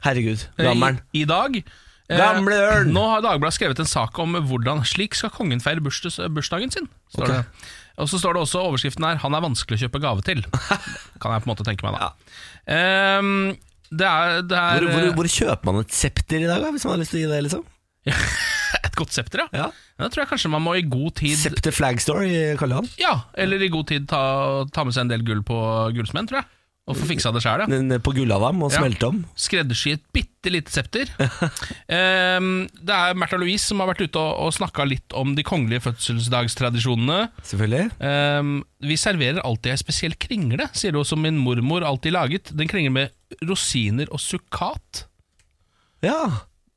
S1: Herregud,
S2: eh,
S1: gammelen.
S2: i, i dag. Eh,
S1: Gamle ørn!
S2: Nå har Dagbladet skrevet en sak om hvordan slik skal kongen feire bursdags, eh, bursdagen sin. Står
S1: Ok.
S2: det. Og så står det også overskriften her 'Han er vanskelig å kjøpe gave til'. kan jeg på en måte tenke meg, da. Ehm, det er, det er
S1: Hvor, hvor, hvor kjøper man et septer i dag, da, hvis man har lyst til å gi det? liksom?
S2: eh, et godt septer, ja.
S1: Ja.
S2: Da tror jeg kanskje man må i god tid
S1: Septer Flagstore i Karl Johan.
S2: Ja, eller i god tid ta, ta med seg en del gull på gullsmenn, tror jeg. Og få fiksa det sjæl, ja.
S1: Den er På Gullavam og
S2: Ja.
S1: smelte om.
S2: Skreddersy et bitte lite septer. Ehm, det er Märtha Louise som har vært ute og, og snakka litt om de kongelige fødselsdagstradisjonene.
S1: Selvfølgelig.
S2: Ehm, vi serverer alltid ei spesiell kringle, sier hun, som min mormor alltid laget. Den kringler med rosiner og sukkat.
S1: Ja.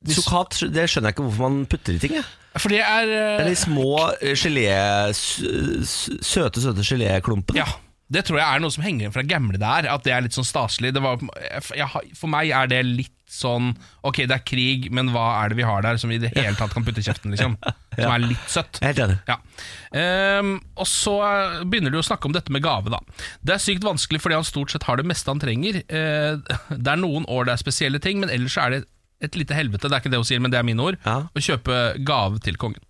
S1: Sukkat, det skjønner jeg ikke hvorfor man putter i ting. jeg.
S2: For det er eh,
S1: Eller de små eh, gelé... s- s- Søte, søte geléklumpene.
S2: Ja, det tror jeg er noe som henger igjen fra gamle der. At det er litt sånn staselig. Det var, jeg, har- for meg er det litt sånn Ok, det er krig, men hva er det vi har der som vi i det hele tatt kan putte i kjeften, liksom? Som er litt søtt.
S1: Jeg er Helt enig.
S2: Ja. Ehm, og så begynner du å snakke om dette med gave, da. Det er sykt vanskelig fordi han stort sett har det meste han trenger. Eh, det er noen år det er spesielle ting, men ellers så er det et lite helvete. Det er ikke det hun sier, men det er mine ord.
S1: Ja.
S2: Å kjøpe gave til kongen.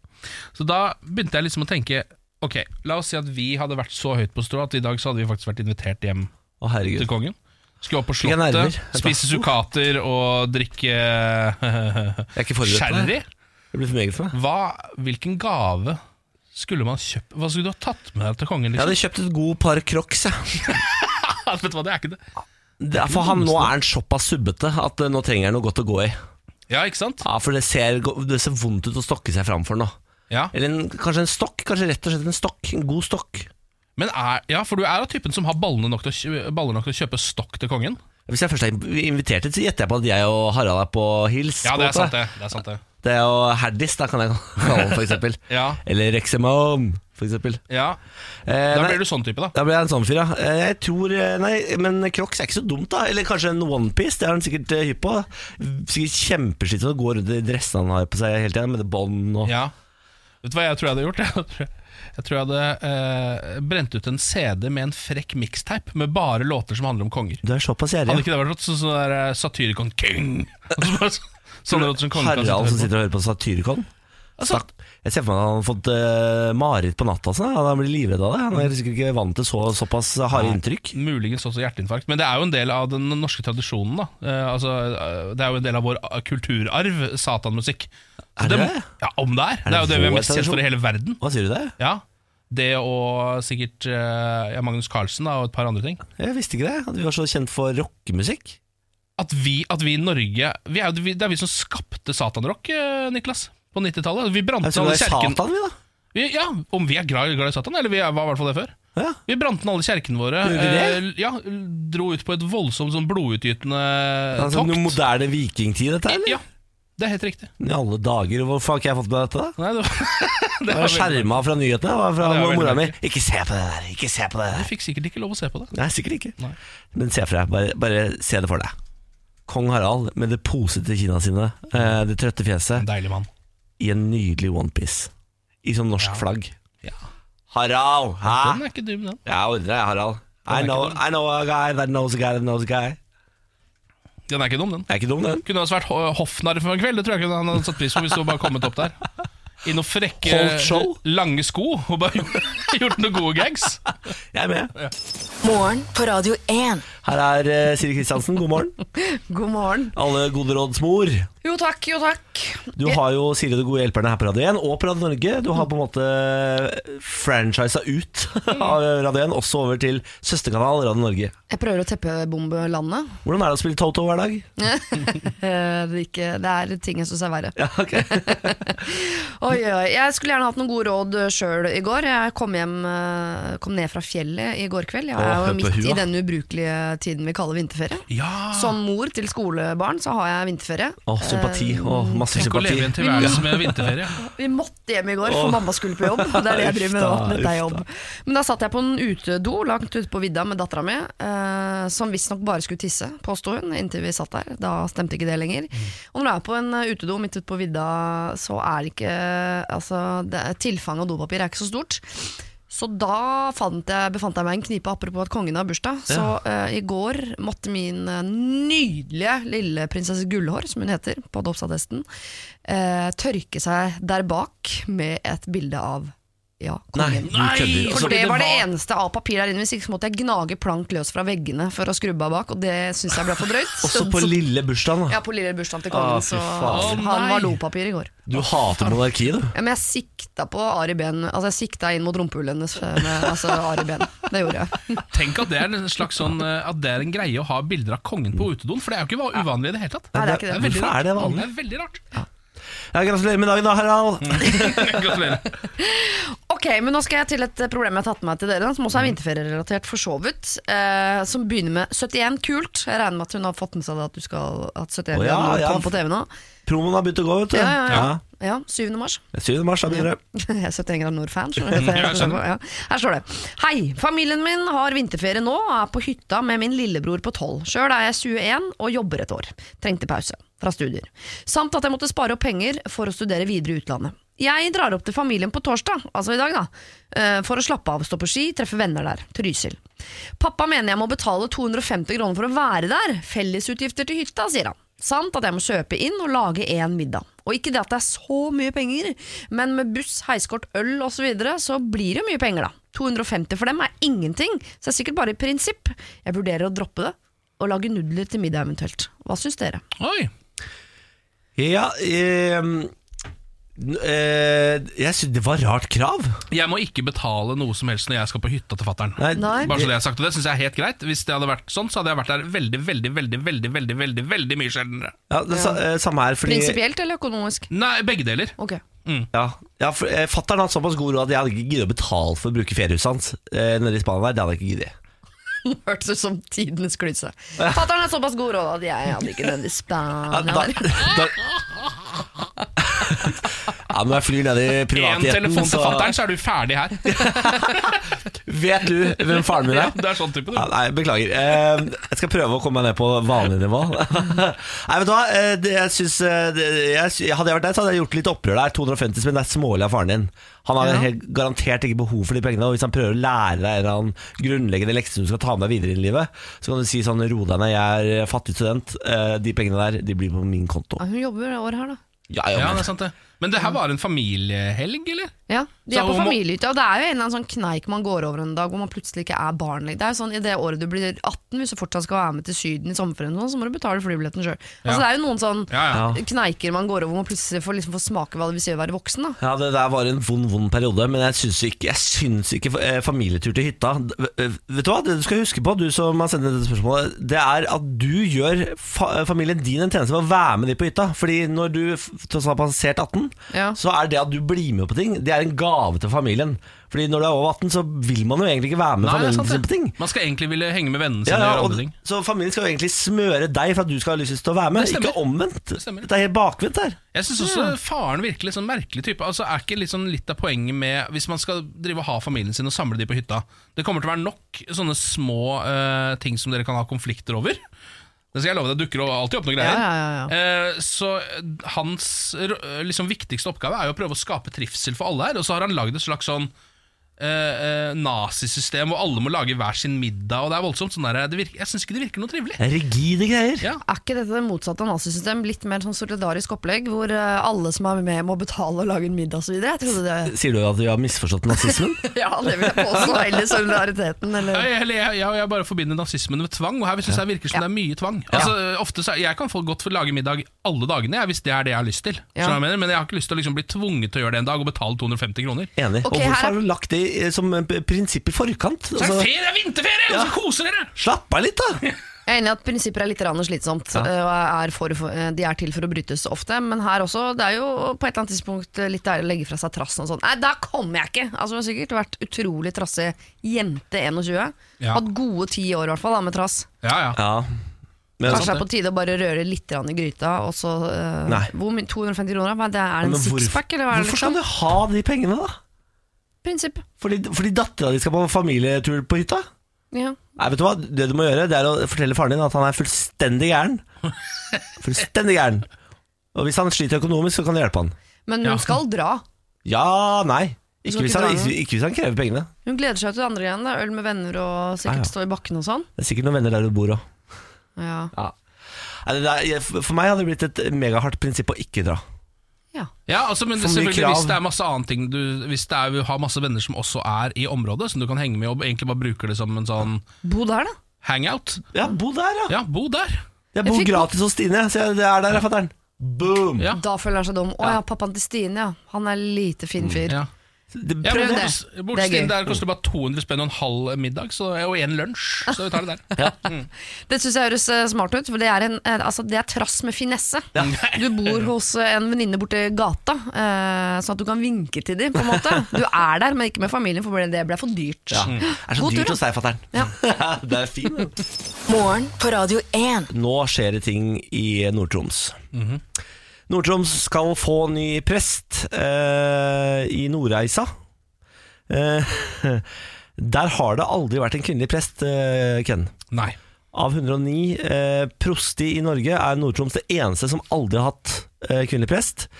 S2: Så da begynte jeg liksom å tenke Ok, la oss si at vi hadde vært så høyt på strå at i dag så hadde vi faktisk vært invitert hjem
S1: Å,
S2: til
S1: herregud.
S2: kongen. Skulle opp på
S1: Fikk jeg nerver?
S2: slottet, spise sukkater og drikke
S1: Jeg er ikke forberedt på det.
S2: sherry.
S1: Det blir for meget for meg.
S2: Hva, hvilken gave skulle man kjøpt Hva skulle du ha tatt med deg til kongen?
S1: Jeg
S2: Liksom?
S1: hadde kjøpt et god par crocs, jeg.
S2: Vet du hva, det er ikke det.
S1: Det er For han nå er han såpass subbete at eh, nå trenger han noe godt å gå i.
S2: Ja, ikke sant?
S1: Ja, for det ser, det ser vondt ut å stokke seg framfor nå.
S2: Ja,
S1: Eller en, kanskje en stokk, kanskje rett og slett en stokk, en god stokk.
S2: Men er, ja for du er av typen som har ballene nok, til å, kjø- baller nok til å kjøpe stokk til kongen?
S1: Hvis jeg først er invitert hit, så gjetter jeg på at jeg og Harald er på hils.
S2: Ja,
S1: på
S2: det
S1: en
S2: er
S1: måte.
S2: sant, det. det, er sant det.
S1: Det er jo Herdis, da kan jeg kalle han for eksempel.
S2: Ja,
S1: Eller Rexemon, for eksempel.
S2: ja.
S1: Eh,
S2: Da
S1: nei,
S2: blir du sånn type, da.
S1: da blir jeg en sånn fyr, ja. Eh, Jeg tror, eh, nei, men Crocs er ikke så dumt, da. Eller kanskje en onepiece, det er han sikkert eh, hypp på. Sikkert kjempeslitsomt å gå rundt i dressene han har på seg hele tiden, med det bånd og
S2: Ja. Vet du hva jeg tror jeg hadde gjort? Jeg tror jeg, jeg, tror jeg hadde eh, brent ut en CD med en frekk mixtape med bare låter som handler om konger.
S1: Du er såpass gjerrig.
S2: Hadde
S1: ja.
S2: ikke det vært rått? Så, sånn der eh, Satyricon King Og så bare så- Sånne låter som kongen kan
S1: Harald som
S2: sitte og høre på.
S1: sitter og hører på Satyricon.
S2: Altså-
S1: Stakk. Jeg ser for meg at han har fått eh, mareritt på natta. og Sånn. Han blir livredd av det. Han er sikkert ikke vant til så, såpass harde inntrykk.
S2: Muligens også hjerteinfarkt, men det er jo en del av den norske tradisjonen. da eh, altså, eh, Det er jo en del av vår eh, kulturarv, satanmusikk. Så
S1: Er det
S2: må-
S1: det?
S2: Ja, om det er. Det er jo det vi er mest kjent for i hele verden.
S1: Hva sier du det?
S2: Ja, Det og sikkert eh, ja, Magnus Carlsen da, og et par andre ting.
S1: Jeg visste ikke det. At vi var så kjent for rockemusikk.
S2: At vi, at vi i Norge vi er, jo- vi, Det er vi som skapte satanrock, eh, Niklas. På 90-tallet. Vi brant
S1: Jeg tror
S2: ned
S1: Altså, det
S2: alle
S1: er
S2: kjerkene
S1: Satan, vi, da.
S2: vi, Ja, Om vi er glad, glad i Satan, eller vi er, var i hvert fall det før.
S1: Ja.
S2: Vi brant ned alle kjerkene våre.
S1: Gjorde vi det?
S2: eh, ja, Dro ut på et voldsomt sånn blodutgytende
S1: Altså,
S2: tokt.
S1: noe moderne vikingtid, dette, eller?
S2: Ja, Det er helt riktig.
S1: I alle dager, hvorfor har ikke jeg fått med dette? da?
S2: Nei, det var, det
S1: Jeg var
S2: var veldig-
S1: skjerma fra nyhetene. jeg Var fra
S2: Ja, det var
S1: mora
S2: veldig
S1: mi. Ikke se på det der! Ikke se på det
S2: Jeg
S1: der!
S2: fikk sikkert ikke lov å se på det.
S1: Nei, sikkert ikke.
S2: Nei.
S1: Men se for deg, bare, bare se det for deg. Kong Harald med det posete kinna sine, eh, det trøtte fjeset,
S2: Deilig mann.
S1: i en nydelig onepiece. I sånn norsk flagg.
S2: Ja.
S1: Harald! Hæ?
S2: Den er ikke dum, den.
S1: Jeg ordrer deg, Harald.
S2: Den
S1: I
S2: er
S1: know,
S2: ikke dum.
S1: I know a guy that knows a guy that knows a guy.
S2: Den er ikke dum, den.
S1: Det er ikke dum, den.
S2: Kunne også vært ho- hoffnarr for en kveld. Det tror jeg ikke han hadde satt pris på hvis du bare kommet opp der. I noen
S1: Holdt
S2: frekke,
S1: show?
S2: lange sko og bare gjort noen gode gags.
S1: Jeg er med.
S3: Morgen på Radio 1.
S1: Her er eh, Siri Kristiansen, god morgen.
S4: God morgen.
S1: Alle gode råds mor.
S4: Jo takk, jo takk.
S1: Du har jo Siri og de gode hjelperne her på Radio 1 og på Radio Norge. Du har på en måte franchisa ut av Radio 1, også over til søsterkanal Radio Norge.
S4: Jeg prøver å teppebombe landet.
S1: Hvordan er det å spille Toto hver dag?
S4: Eh, Det er, ikke, det er ting jeg syns er verre.
S1: Ja, ok.
S4: Oi, oi. Jeg skulle gjerne hatt noen gode råd sjøl i går. Jeg kom, hjem, eh, kom ned fra fjellet i går kveld. Jeg
S1: Å,
S4: er
S1: hør
S4: jo
S1: på
S4: midt
S1: hua.
S4: i denne ubrukelige tiden vi kaller vinterferie.
S2: Ja
S4: Som mor til skolebarn så har jeg vinterferie.
S1: Å, sympati.
S4: Eh,
S1: Å, masse
S2: Tenk å
S1: sympati.
S2: leve i en tilværelse med vinterferie.
S4: Vi måtte hjem i går,
S1: Åh.
S4: for mamma skulle på jobb. Det er det jeg driver med nå.
S1: Uff da,
S4: Dette er
S1: uff da.
S4: jobb. Men da satt jeg på en utedo langt ute på vidda med dattera mi, eh, som visstnok bare skulle tisse, påsto hun, inntil vi satt der. Da stemte ikke det lenger. Og når du er på en eh, utedo midt ute på vidda, så er det ikke Altså, det, tilfanget av dopapir er ikke så stort. Så da fant jeg, befant jeg meg i en knipe, apropos at kongen har bursdag. Så eh, i går måtte min eh, nydelige lille prinsesse Gullhår, som hun heter på dåpsattesten, eh, tørke seg der bak med et bilde av ja,
S1: Nei,
S4: kongen.
S1: du kødder.
S4: For
S2: fordi
S4: det
S2: det
S4: var det
S2: var-
S4: eneste av papir der inne. Hvis ikke så måtte jeg gnage plank løs fra veggene for å skrubbe av bak, og det syns jeg ble for drøyt.
S1: Også
S4: Så-
S1: på
S4: så-
S1: lille bursdagen. da.
S4: ja, på lille bursdagen til
S1: Ah,
S4: kongen,
S1: fy
S4: så
S1: faen.
S2: Å,
S4: han
S2: nei.
S4: var dopapir i går.
S1: Du hater monarki, du.
S4: Ja, men jeg sikta på Ari Ben Altså jeg sikta inn mot rumpehullet hennes med altså, Ari Ben. Det gjorde jeg.
S2: Tenk at det er en slags sånn eh, At det er en greie å ha bilder av kongen på utedoen, for det er jo ikke va- uvanlig i det hele tatt.
S4: Nei, det er ikke det.
S2: veldig
S1: Hvorfor
S2: rart.
S1: er det vanlig?
S2: Det er veldig rart.
S1: Ja, gratulerer med dagen, da, Harald.
S4: Mm.
S2: Gratulerer.
S4: Ok, men nå skal jeg til et problem jeg har tatt med meg til dere, da, som også er vinterferierelatert, for så vidt. Eh, som begynner med 71 kult. Jeg regner med at hun har fått med seg det at, du skal, at 71
S1: Å, ja,
S4: gram
S1: ja.
S4: kom på TV nå.
S1: Promoen har begynt å gå, vet du.
S4: Ja, ja, ja. ja 7. mars.
S1: Ja. 7. mars, da begynner det.
S4: Jeg er 71 grader nord-fan. skjønner du?
S2: Mm. Ja, jeg skjønner.
S4: Ja. Her står det. Hei, familien min har vinterferie nå og er på hytta med min lillebror på 12. Sjøl er jeg 21 og jobber et år. Trengte pause fra studier. Samt at jeg måtte spare opp penger for å studere videre i utlandet. Jeg drar opp til familien på torsdag, altså i dag, da, eh, for å slappe av, stå på ski, treffe venner der. Trysil. Pappa mener jeg må betale 250 kroner for å være der. Fellesutgifter til hytta, sier han. Samt at jeg må kjøpe inn og lage én middag. Og ikke det at det er så mye penger, men med buss, heiskort, øl osv. Så, videre, så blir det mye penger, da. 250 for dem er ingenting, så det er sikkert bare i prinsipp. Jeg vurderer å droppe det, og lage nudler til middag eventuelt. Hva syns dere?
S2: Oi,
S1: Ja, eh, eh, jeg synes det var rart krav.
S2: jeg må ikke betale noe som helst når jeg skal på hytta til fattern.
S1: Nei,
S4: Nei.
S2: Bare så det jeg har sagt, og det syns jeg er helt greit. Hvis det hadde vært sånn, så hadde jeg vært der veldig, veldig, veldig, veldig, veldig, veldig, veldig mye sjeldnere.
S1: Ja, det, sa- eh, samme her, fordi
S4: Prinsipielt eller økonomisk?
S2: Nei, begge deler.
S4: Ok.
S1: Ja, ja for, eh, Fatteren hadde såpass god råd at jeg hadde ikke giddet å betale for å bruke feriehuset hans eh, nede i Spania. der, Det hadde jeg ikke giddet.
S4: Hørtes ut som tidenes klyse. Fatter'n er såpass god råd at jeg hadde ikke den
S1: Ja,
S4: i
S1: da,
S4: Spania.
S1: da, ja, når jeg flyr ned i
S2: Én
S1: privatheten,
S2: telefon til fattern,
S1: så
S2: så er du ferdig her.
S1: vet du hvem faren min
S2: Ja,
S1: er.
S2: det er sånn type,
S1: Ja,
S2: du.
S1: nei, beklager. Eh, jeg skal prøve å komme meg ned på vanlig nivå. nei, vet du hva? Eh, det, jeg synes, eh, det, jeg, sy- hadde jeg vært deg, så hadde jeg gjort litt opprør der. 250 spenn, det er smålig av faren din. Han har
S4: Ja.
S1: helt garantert ikke behov for de pengene. Og hvis han prøver å lære deg en eller annen grunnleggende lekse du skal ta med deg videre i livet, så kan du si sånn Ro deg ned, jeg er fattig student. Eh, de pengene der, de blir på min konto.
S4: Ja, hun jobber det året her, da.
S1: Ja,
S2: Ja,
S1: ja,
S2: det
S1: men-
S2: er sant det. Men det her var en familiehelg, eller?
S4: Ja, De
S2: Så
S4: er på
S2: hun må-
S4: familiehytta, og det er jo en eller annen sånn kneik man går over en dag hvor man plutselig ikke er barn lenger. Det er jo sånn, I det året du blir 18, hvis du fortsatt skal være med til Syden i sommerferien, og sånn, så må du betale flybilletten sjøl. Altså,
S2: Ja.
S4: Det er jo noen sånn
S2: Ja, ja.
S1: Ja.
S4: kneiker man går over hvor man plutselig får, liksom, får smake hva det vil si å være voksen. da
S1: Ja, Det der var en vond vond periode, men jeg syns ikke, jeg syns ikke eh, familietur til hytta eh, Vet du hva, det du skal huske på, du som har sendt inn dette spørsmålet, det er at eh, du gjør fa familien din en tjeneste ved å være med dem på hytta. Fordi når du f- tross alt har passert 18, 18,
S4: Ja.
S1: så er det at du blir med på ting, det er en gave til familien. Fordi når du er over 18, så vil man jo egentlig ikke være med
S2: Nei, det er
S1: familien
S2: sant,
S1: sin på
S2: det.
S1: ting.
S2: Man skal egentlig ville henge med vennene
S1: Ja,
S2: sine
S1: ja,
S2: og gjøre
S1: og,
S2: andre ting.
S1: så familien skal jo egentlig smøre deg for at du skal ha lyst til å være med,
S2: Det stemmer.
S1: ikke omvendt. Det
S2: stemmer.
S1: er helt bakvendt der.
S2: Jeg syns også faren virker litt sånn merkelig type. Altså Er ikke litt, sånn litt av poenget med Hvis man skal drive og ha familien sin og samle de på hytta Det kommer til å være nok sånne små eh, ting som dere kan ha konflikter over. Det skal jeg love deg, dukker jo alltid opp noen greier.
S4: Ja, ja,
S2: Eh, så eh, hans eh, liksom viktigste oppgave er jo å prøve å skape trivsel for alle her. Og så har han lagd et slags sånn eh, eh, nazisystem hvor alle må lage hver sin middag, og det er voldsomt. Sånn der, det virker, jeg syns ikke det virker noe trivelig.
S1: Det er rigide greier.
S2: Ja.
S4: Er ikke dette det motsatte av nazisystem? Litt mer sånn solidarisk opplegg, hvor eh, alle som er med, må betale og lage en middag osv.? Jeg trodde det
S1: Sier du at vi har misforstått nazismen?
S4: Ja, det vil jeg påstå. Eller solidariteten,
S2: Ja,
S4: eller
S2: Jeg, eller jeg, jeg, jeg bare forbinder nazismen med tvang, og her synes jeg virker som det er mye tvang. Altså, ofte så, Jeg kan få godt for å lage middag alle dagene jeg, hvis det er det jeg har lyst til. Skjønner du
S4: Ja.
S2: hva Jeg mener? Men jeg har ikke lyst til å liksom bli tvunget til å gjøre det en dag og betale 250 kroner.
S1: Enig.
S4: Ok,
S1: og hvorfor
S4: her er-
S1: har du lagt det i- eh, som en p- prinsipp i forkant?
S2: Så er det
S1: Altså,
S2: ferie, det er vinterferie! Og så koser dere!
S1: slapp av litt, da!
S4: Jeg er enig i at prinsipper er litt rann slitsomt, eh, og er for, for, eh, de er til for å brytes ofte. Men her også, det er jo på et eller annet tidspunkt eh, litt deilig å legge fra seg trassen og sånn. Nei, da kommer jeg ikke! Altså, Hun har sikkert vært utrolig trassig jente 21.
S2: Ja.
S4: Hatt gode ti år i hvert fall da, med trass.
S2: Ja, ja.
S1: Ja. Men, altså,
S4: Kanskje det er på tide å bare røre litt rann i gryta, og så eh,
S1: Nei.
S4: Hvor mye? 250 kroner? Hva er det er det
S1: men
S4: en
S1: hvorfor-
S4: sixpack, eller hva er det?
S1: Hvorfor skal
S4: Liksom?
S1: du ha de pengene, da?
S4: Prinsipp.
S1: Fordi, fordi dattera di skal på familietur på hytta?
S4: Ja.
S1: Nei, vet du hva? Det du må gjøre, det er å fortelle faren din at han er fullstendig gæren. Fullstendig gæren. Og hvis han sliter økonomisk, så kan du hjelpe han.
S4: Men hun
S2: Ja.
S4: skal dra.
S1: Ja, nei. Ikke
S4: skal
S1: hvis
S4: ikke
S1: han,
S4: dra
S1: ikke,
S4: nå.
S1: ikke hvis han krever pengene.
S4: Hun gleder seg jo til det andre igjen. Da. Øl med venner og
S1: Ah, Ja, ja.
S4: sikkert stå i bakken og sånn.
S1: Det er sikkert noen venner der du bor òg.
S4: Ja.
S1: For meg hadde det blitt et megahardt prinsipp å ikke dra.
S4: ja.
S2: ja altså, men
S1: For mye
S2: selvfølgelig
S1: krav.
S2: Hvis det er masse annet ting du, Hvis det er, du har masse venner som også er i området, som du kan henge med og egentlig bare bruker det som en sånn
S4: Bo der, da.
S2: hangout,
S1: Ja, bo der, ja.
S2: ja, bo der.
S1: Jeg bor
S4: Jeg fikk-
S1: gratis hos Stine. Så jeg, det er der, jeg, fatter'n. Boom!
S2: Ja.
S4: Da føler han seg dum. Å ja, pappaen til Stine, ja. Han er lite fin fyr.
S2: Ja.
S1: Det-
S2: Ja,
S1: prøv
S2: men
S1: det.
S2: bort- bort
S4: Det er
S2: til
S4: gøy.
S2: der koster det bare 200 spenn og en halv middag så, og en lunsj, så vi tar det der.
S4: Det syns jeg høres eh, smart ut, for det er, en, eh, altså, det er trass med finesse. Du bor hos eh, en venninne borte i gata, eh, sånn at du kan vinke til dem, på en måte. Du er der, men ikke med familien, for det ble for dyrt.
S1: Ja. Det er så
S4: God tur,
S1: dyrt
S4: da.
S1: hos deg, fatter'n. det er fint. det.
S3: Morgen på Radio 1.
S1: Nå skjer det ting i Nord-Troms.
S2: Mhm.
S1: Nord-Troms skal få ny prest eh, i Nordreisa. Eh, der har det aldri vært en kvinnelig prest, eh, Ken.
S2: Nei.
S1: Av 109 eh, prosti i Norge er Nord-Troms det eneste som aldri har hatt eh, kvinnelig prest.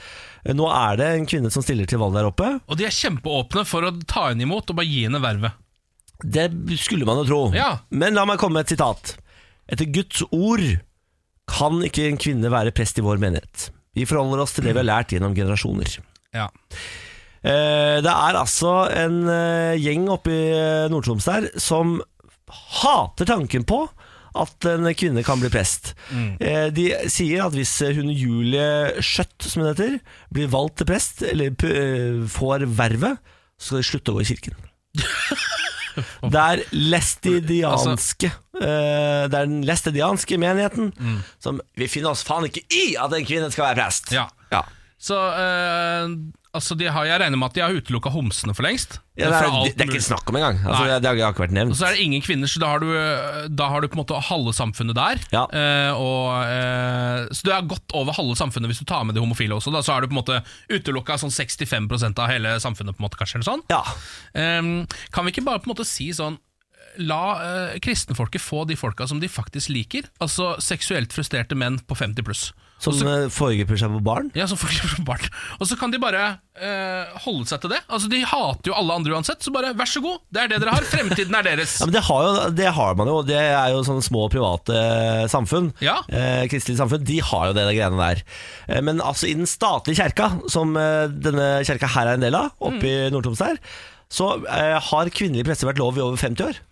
S1: Eh, Nå er det en kvinne som stiller til valg der oppe.
S2: Og de er kjempeåpne for å ta henne imot og bare gi henne vervet.
S1: Det skulle man jo tro.
S2: Ja.
S1: Men la meg komme med et sitat. Etter Guds ord kan ikke en kvinne være prest i vår menighet. Vi forholder oss til det vi har lært gjennom generasjoner.
S2: Ja.
S1: Eh, Det er altså en eh, gjeng oppe i eh, Nord-Troms der som hater tanken på at en kvinne kan bli prest. Eh, De sier at hvis hun Julie Skjøtt, som hun heter, blir valgt til prest, eller p- eh, får vervet, så skal de slutte å gå i kirken. Det er lestidianske eh, Det er den lestidianske menigheten som Vi finner oss faen ikke i at en kvinne skal være prest!
S2: Ja.
S1: Ja.
S2: Så eh, altså de har, jeg regner med at de har utelukka homsene for lengst.
S1: Ja, det,
S2: Fra
S1: er,
S2: alt
S1: det, det er
S2: mulig.
S1: ikke snakk om engang. Altså,
S2: Nei.
S1: det, det har ikke vært
S2: Og
S1: nevnt.
S2: så er det ingen kvinner, så da har du, da har du på en måte halve samfunnet der.
S1: Ja.
S2: Eh, og, eh, så du er godt over halve samfunnet hvis du tar med de homofile også. Da, så er du på en måte utelukka sånn 65 av hele samfunnet, på en måte, kanskje. eller sånn
S1: Ja.
S2: Ehm, kan vi ikke bare på en måte si sånn La eh, kristenfolket få de folka som de faktisk liker. Altså seksuelt frustrerte menn på 50 pluss.
S1: Som eh, foregriper seg på barn.
S2: Ja, som folk gjør som barn. Og så kan de bare eh, holde seg til det. Altså De hater jo alle andre uansett, så bare vær så god, det er det dere har. Fremtiden er deres.
S1: Ja, men det har, jo, det har man jo, det er jo sånne små private samfunn.
S2: Ja.
S1: Eh, kristelige samfunn, de har jo det, de greiene der. Eh, men altså i den statlige kjerka, som eh, denne kjerka her er en del av, oppe
S2: Mm.
S1: i Nord-Troms der, så eh, har kvinnelige prester vært lov i over 50 år.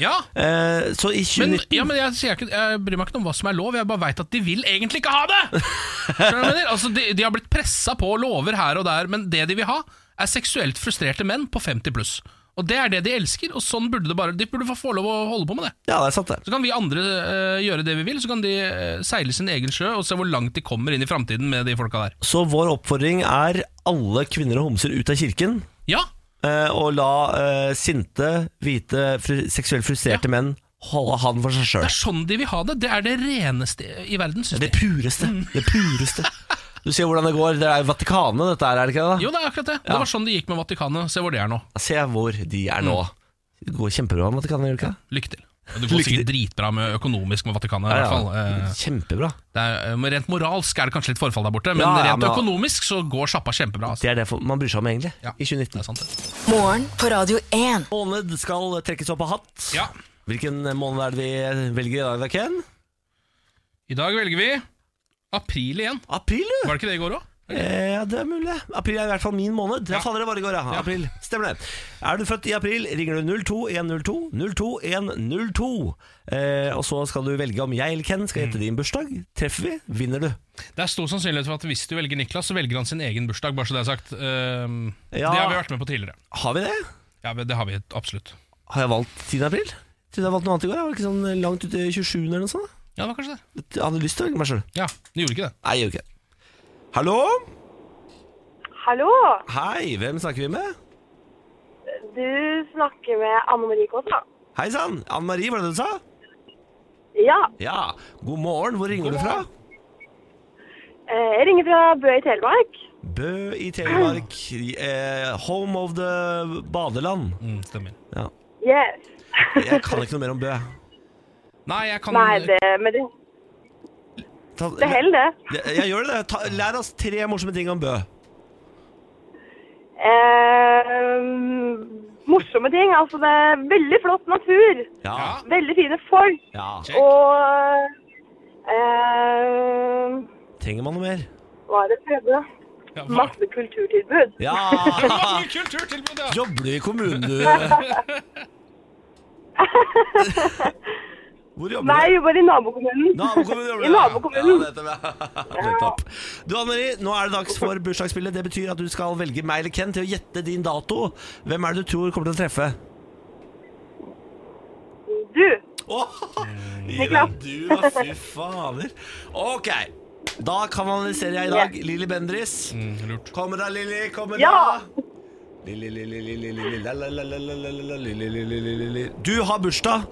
S2: Ja,
S1: Eh, så i 2019
S2: men, ja, men jeg, sier ikke, jeg bryr meg ikke om hva som er lov, jeg bare veit at de vil egentlig ikke ha det! Skjønner du hva jeg mener? Altså, de, de har blitt pressa på lover her og der, men det de vil ha, er seksuelt frustrerte menn på 50 pluss. Og det er det de elsker, og sånn burde det bare De burde få- få lov å holde på med det.
S1: Ja, det er sant, det.
S2: Så kan vi andre eh, gjøre det vi vil, så kan de eh, seile sin egen sjø og se hvor langt de kommer inn i framtiden med de folka der.
S1: Så vår oppfordring er alle kvinner og homser ut av kirken.
S2: Ja,
S1: eh, Og la eh, sinte, hvite, fru seksuelt frustrerte menn holde han for seg
S2: det
S1: sjøl.
S2: er sånn de vil ha det. Det er det reneste i verden, syns
S1: Det
S2: de.
S1: pureste. Det pureste. Du ser hvordan det går. Det er Vatikanet, dette her, er det ikke det? da?
S2: Jo, det er akkurat det. Det var sånn det gikk med Vatikanet. Se hvor de er nå.
S1: Se hvor de er nå.
S2: Mm.
S1: Det går kjempebra med Vatikanet, gjør det ikke?
S2: Lykke til. Og Det går
S1: Lykke til.
S2: sikkert dritbra med økonomisk med Vatikanet. i
S1: Ja, Mm.
S2: hvert fall.
S1: ja.
S2: Eh,
S1: Kjempebra.
S2: Det er, eh, men Rent moralsk er det kanskje litt forfall der borte, men
S1: Ja, ja,
S2: rent
S1: men-
S2: økonomisk så går sjappa kjempebra. Altså.
S1: Det er det for- man bryr seg om, egentlig.
S2: Ja.
S1: I
S2: Det
S1: 2019.
S2: er sant, det.
S3: Morgen på Radio 1.
S1: Måned skal trekkes opp av hatt.
S2: Ja.
S1: Hvilken måned er det vi velger i dag, da, Ken?
S2: I dag velger vi april igjen.
S1: April, du!
S2: Var det ikke det i går òg?
S1: Eh, Ja, det er mulig. April er i hvert fall min måned. Jeg
S2: Ja.
S1: faller det bare i går, ja.
S2: Ja.
S1: April. Stemmer det. Er du født i april, ringer du 02102 02102. Eh, og så skal du velge om jeg eller Ken skal gjette din bursdag. Treffer vi, vinner du.
S2: Det er stor sannsynlighet for at hvis du velger Niklas, så velger han sin egen bursdag, bare så det er sagt. Ehm,
S1: Ja.
S2: Det har vi vært med på tidligere.
S1: Har vi det?
S2: Ja, men det har vi absolutt.
S1: Har jeg valgt 10. april? Trodde jeg valgte noe annet i går. Jeg var ikke sånn langt ute i 27. eller noe sånt.
S2: Ja, det var kanskje det.
S1: Jeg hadde lyst til å velge meg sjøl.
S2: Ja, Du gjorde ikke det.
S1: Nei, jeg gjør ikke det. Hallo?
S5: Hallo,
S1: Hei, hvem snakker vi med?
S5: du snakker med Anne Marie Kåsa.
S1: Hei sann, Anne Marie, var det det du sa?
S5: Ja,
S1: Ja. God morgen, hvor ringer du fra?
S5: eh, jeg ringer fra Bø i Telemark.
S1: Bø i Telemark. Eh, home of the badeland.
S2: Mm, stemmer.
S1: Ja.
S5: Yes.
S1: Jeg kan ikke noe mer om Bø.
S2: Nei, jeg kan
S5: Nei, det, men det,
S1: Ta,
S5: det holder, det.
S1: jeg gjør det. Ta, lær oss tre morsomme ting om Bø.
S5: Eh, morsomme ting. Altså, det er veldig flott natur.
S1: Ja.
S5: Veldig fine folk.
S1: ja.
S2: Check.
S5: Og eh,
S1: Trenger man noe mer?
S5: Hva er det tredje?
S2: Ja, hva-
S5: Masse kulturtilbud.
S1: Ja!
S2: Det var mye kulturtilbud, ja.
S1: Jobber du i kommunen, du? Hvor jobber du?
S5: Nei, jeg jobber i nabokommunen.
S1: Nabokommunen jobber du,
S5: I
S1: ja.
S5: nabokommunen.
S1: Ja, nettopp, ja. Nettopp. Du, Anne Marie, nå er det dags for bursdagsspillet. Det betyr at du skal velge meg eller Ken til å gjette din dato. Hvem er det du tror kommer til å treffe?
S5: Du,
S1: Åh, ja,
S5: Niklas.
S1: du da, fy fader. Ok, da kanaliserer jeg i dag Lilly Bendris.
S2: Mm, lurt.
S1: Kommer da, Lilly, kommer
S5: Ja.
S1: da. Lilly, Lilly, Lilly, Lilly, la, la, la, la, la, la, la, Lilly, Lilly, Lilly, Lilly. Du har bursdag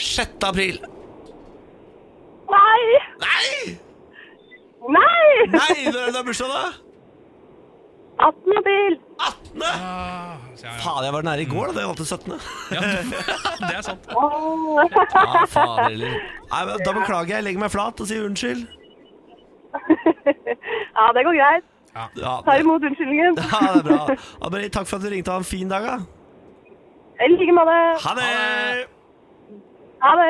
S1: 6. april.
S5: nei!
S1: Nei!
S5: Nei!
S1: Nei, når er det du har bursdag, da?
S5: 18. april.
S1: 18.
S2: Ah, så ja, ja.
S1: Fader, jeg var nære i går, da. da Jeg valgte 17.
S2: Ja, det er sant.
S5: Åh.
S1: Ja, fader, eller. Nei, men da beklager jeg. Jeg legger meg flat og sier unnskyld.
S5: Ja, det går greit.
S1: Ja,
S5: Tar
S1: det,
S5: imot unnskyldningen.
S1: ja, det er bra. Anne-Marie, takk for at du ringte. Ha en fin dag, da.
S5: I like måte.
S1: Ha det!
S5: Ha det.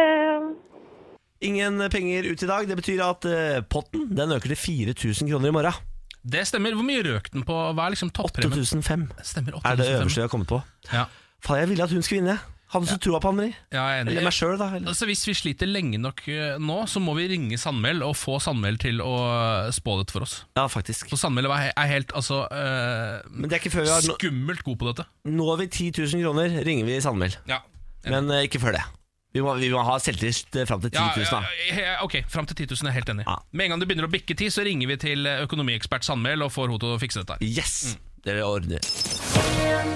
S1: Ingen penger ut i dag. Det betyr at eh, potten den øker til 4000 kroner i morgen.
S2: Det stemmer. Hvor mye røk den på? Hva er liksom toppremien?
S1: 8005
S2: Stemmer,
S1: er det
S2: 8500.
S1: øverste jeg har kommet på.
S2: Ja.
S1: Faen, jeg ville at hun skulle vinne. Hadde så trua på Anne Marie.
S2: ja, jeg er
S1: Eller
S2: enig.
S1: meg sjøl, da. Eller.
S2: Altså, hvis vi sliter lenge nok eh, nå, så må vi ringe Sandmæl og få Sandmæl til å eh, spå dette for oss.
S1: Ja, faktisk.
S2: For Sandmæl er he- er helt altså, eh,
S1: Men det er ikke før vi har nå-
S2: skummelt god på dette.
S1: Når vi 10 000 kroner, ringer vi Sandmæl.
S2: Ja,
S1: Men eh, ikke før det. Vi må, vi må ha selvtillit eh, fram til 10 000,
S2: ja,
S1: da.
S2: ja, Ok, fram til 10 000 er jeg helt enig.
S1: Ja.
S2: Med en gang du begynner å bikke 10, så ringer vi til eh, økonomiekspert Sandmæl og får henne til å fikse dette. her.
S1: Yes!
S2: Mm.
S1: Det ordner.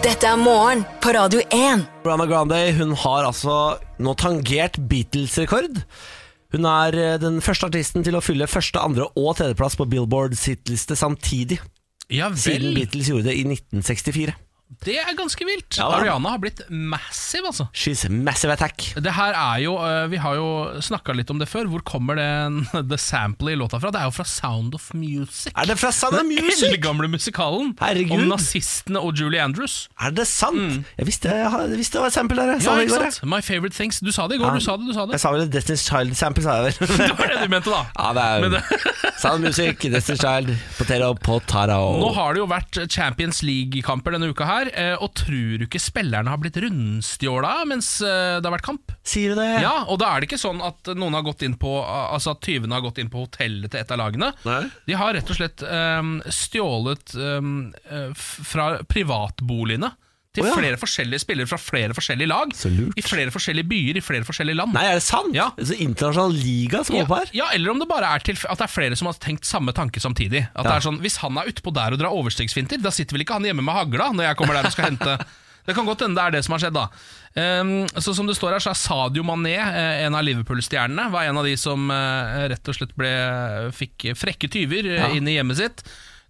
S3: Dette er morgen på Radio 1.
S1: Rana Grande hun har altså nå tangert Beatles-rekord. Hun er eh, den første artisten til å fylle første, andre og tredjeplass på Billboards hitliste samtidig.
S2: Ja
S1: Siden
S2: vel,
S1: Beatles gjorde det i 1964.
S2: det er ganske vilt.
S1: Ja, da.
S2: Ariana har blitt massiv, altså.
S1: She's massive attack.
S2: Det her er jo, eh, Vi har jo snakka litt om det før. Hvor kommer den The Sample i låta fra? Det er jo fra Sound of Music.
S1: Er det fra Sound of
S2: Den
S1: Music?
S2: eldgamle musikalen
S1: Herregud.
S2: om nazistene og Julie Andrews.
S1: Er det sant? Jeg visste, jeg har- jeg visste det var et sample der. Jeg sa
S2: Mm. Ja,
S1: det i
S2: ikke
S1: går.
S2: sant? My favorite things. Du sa det i går, du sa det, du sa
S1: Jeg Jeg
S2: det.
S1: sa vel et Destiny's Child-sample, sa jeg vel.
S2: Det var det du mente, da.
S1: ja, det er
S2: Men
S1: det... Sound of Music, Destiny's Child, Potato,
S2: Nå
S1: Potaro.
S2: har det jo vært Champions League-kamper denne uka her, eh, og tror du ikke spillerne har blitt rundstjåla mens eh, det har vært kamp?
S1: Sier du det?
S2: Ja, og da er det ikke sånn at noen har gått inn på Altså at tyvene har gått inn på hotellet til et av lagene.
S1: Nei.
S2: De har ehm, rett og slett eh, stjålet eh, f- fra privatboligene til
S1: Å, ja.
S2: flere forskjellige spillere fra flere forskjellige lag.
S1: Så lurt.
S2: I flere forskjellige byer, i flere forskjellige land.
S1: Nei, er det sant?
S2: Ja.
S1: Så internasjonal liga som
S2: ja,
S1: holder på her?
S2: ja, eller om det bare er til, at det er flere som har tenkt samme tanke samtidig. At det er sånn, Hvis han er utpå der og drar overstegsfinter, da sitter vel ikke han hjemme med hagla når jeg kommer der og skal hente Det kan godt hende det er det som har skjedd, da. Ehm, så Som det står her, så er Sadio Mané, eh, en av Liverpool-stjernene, var en av de som eh, rett og slett ble, fikk frekke tyver eh, inn i hjemmet sitt.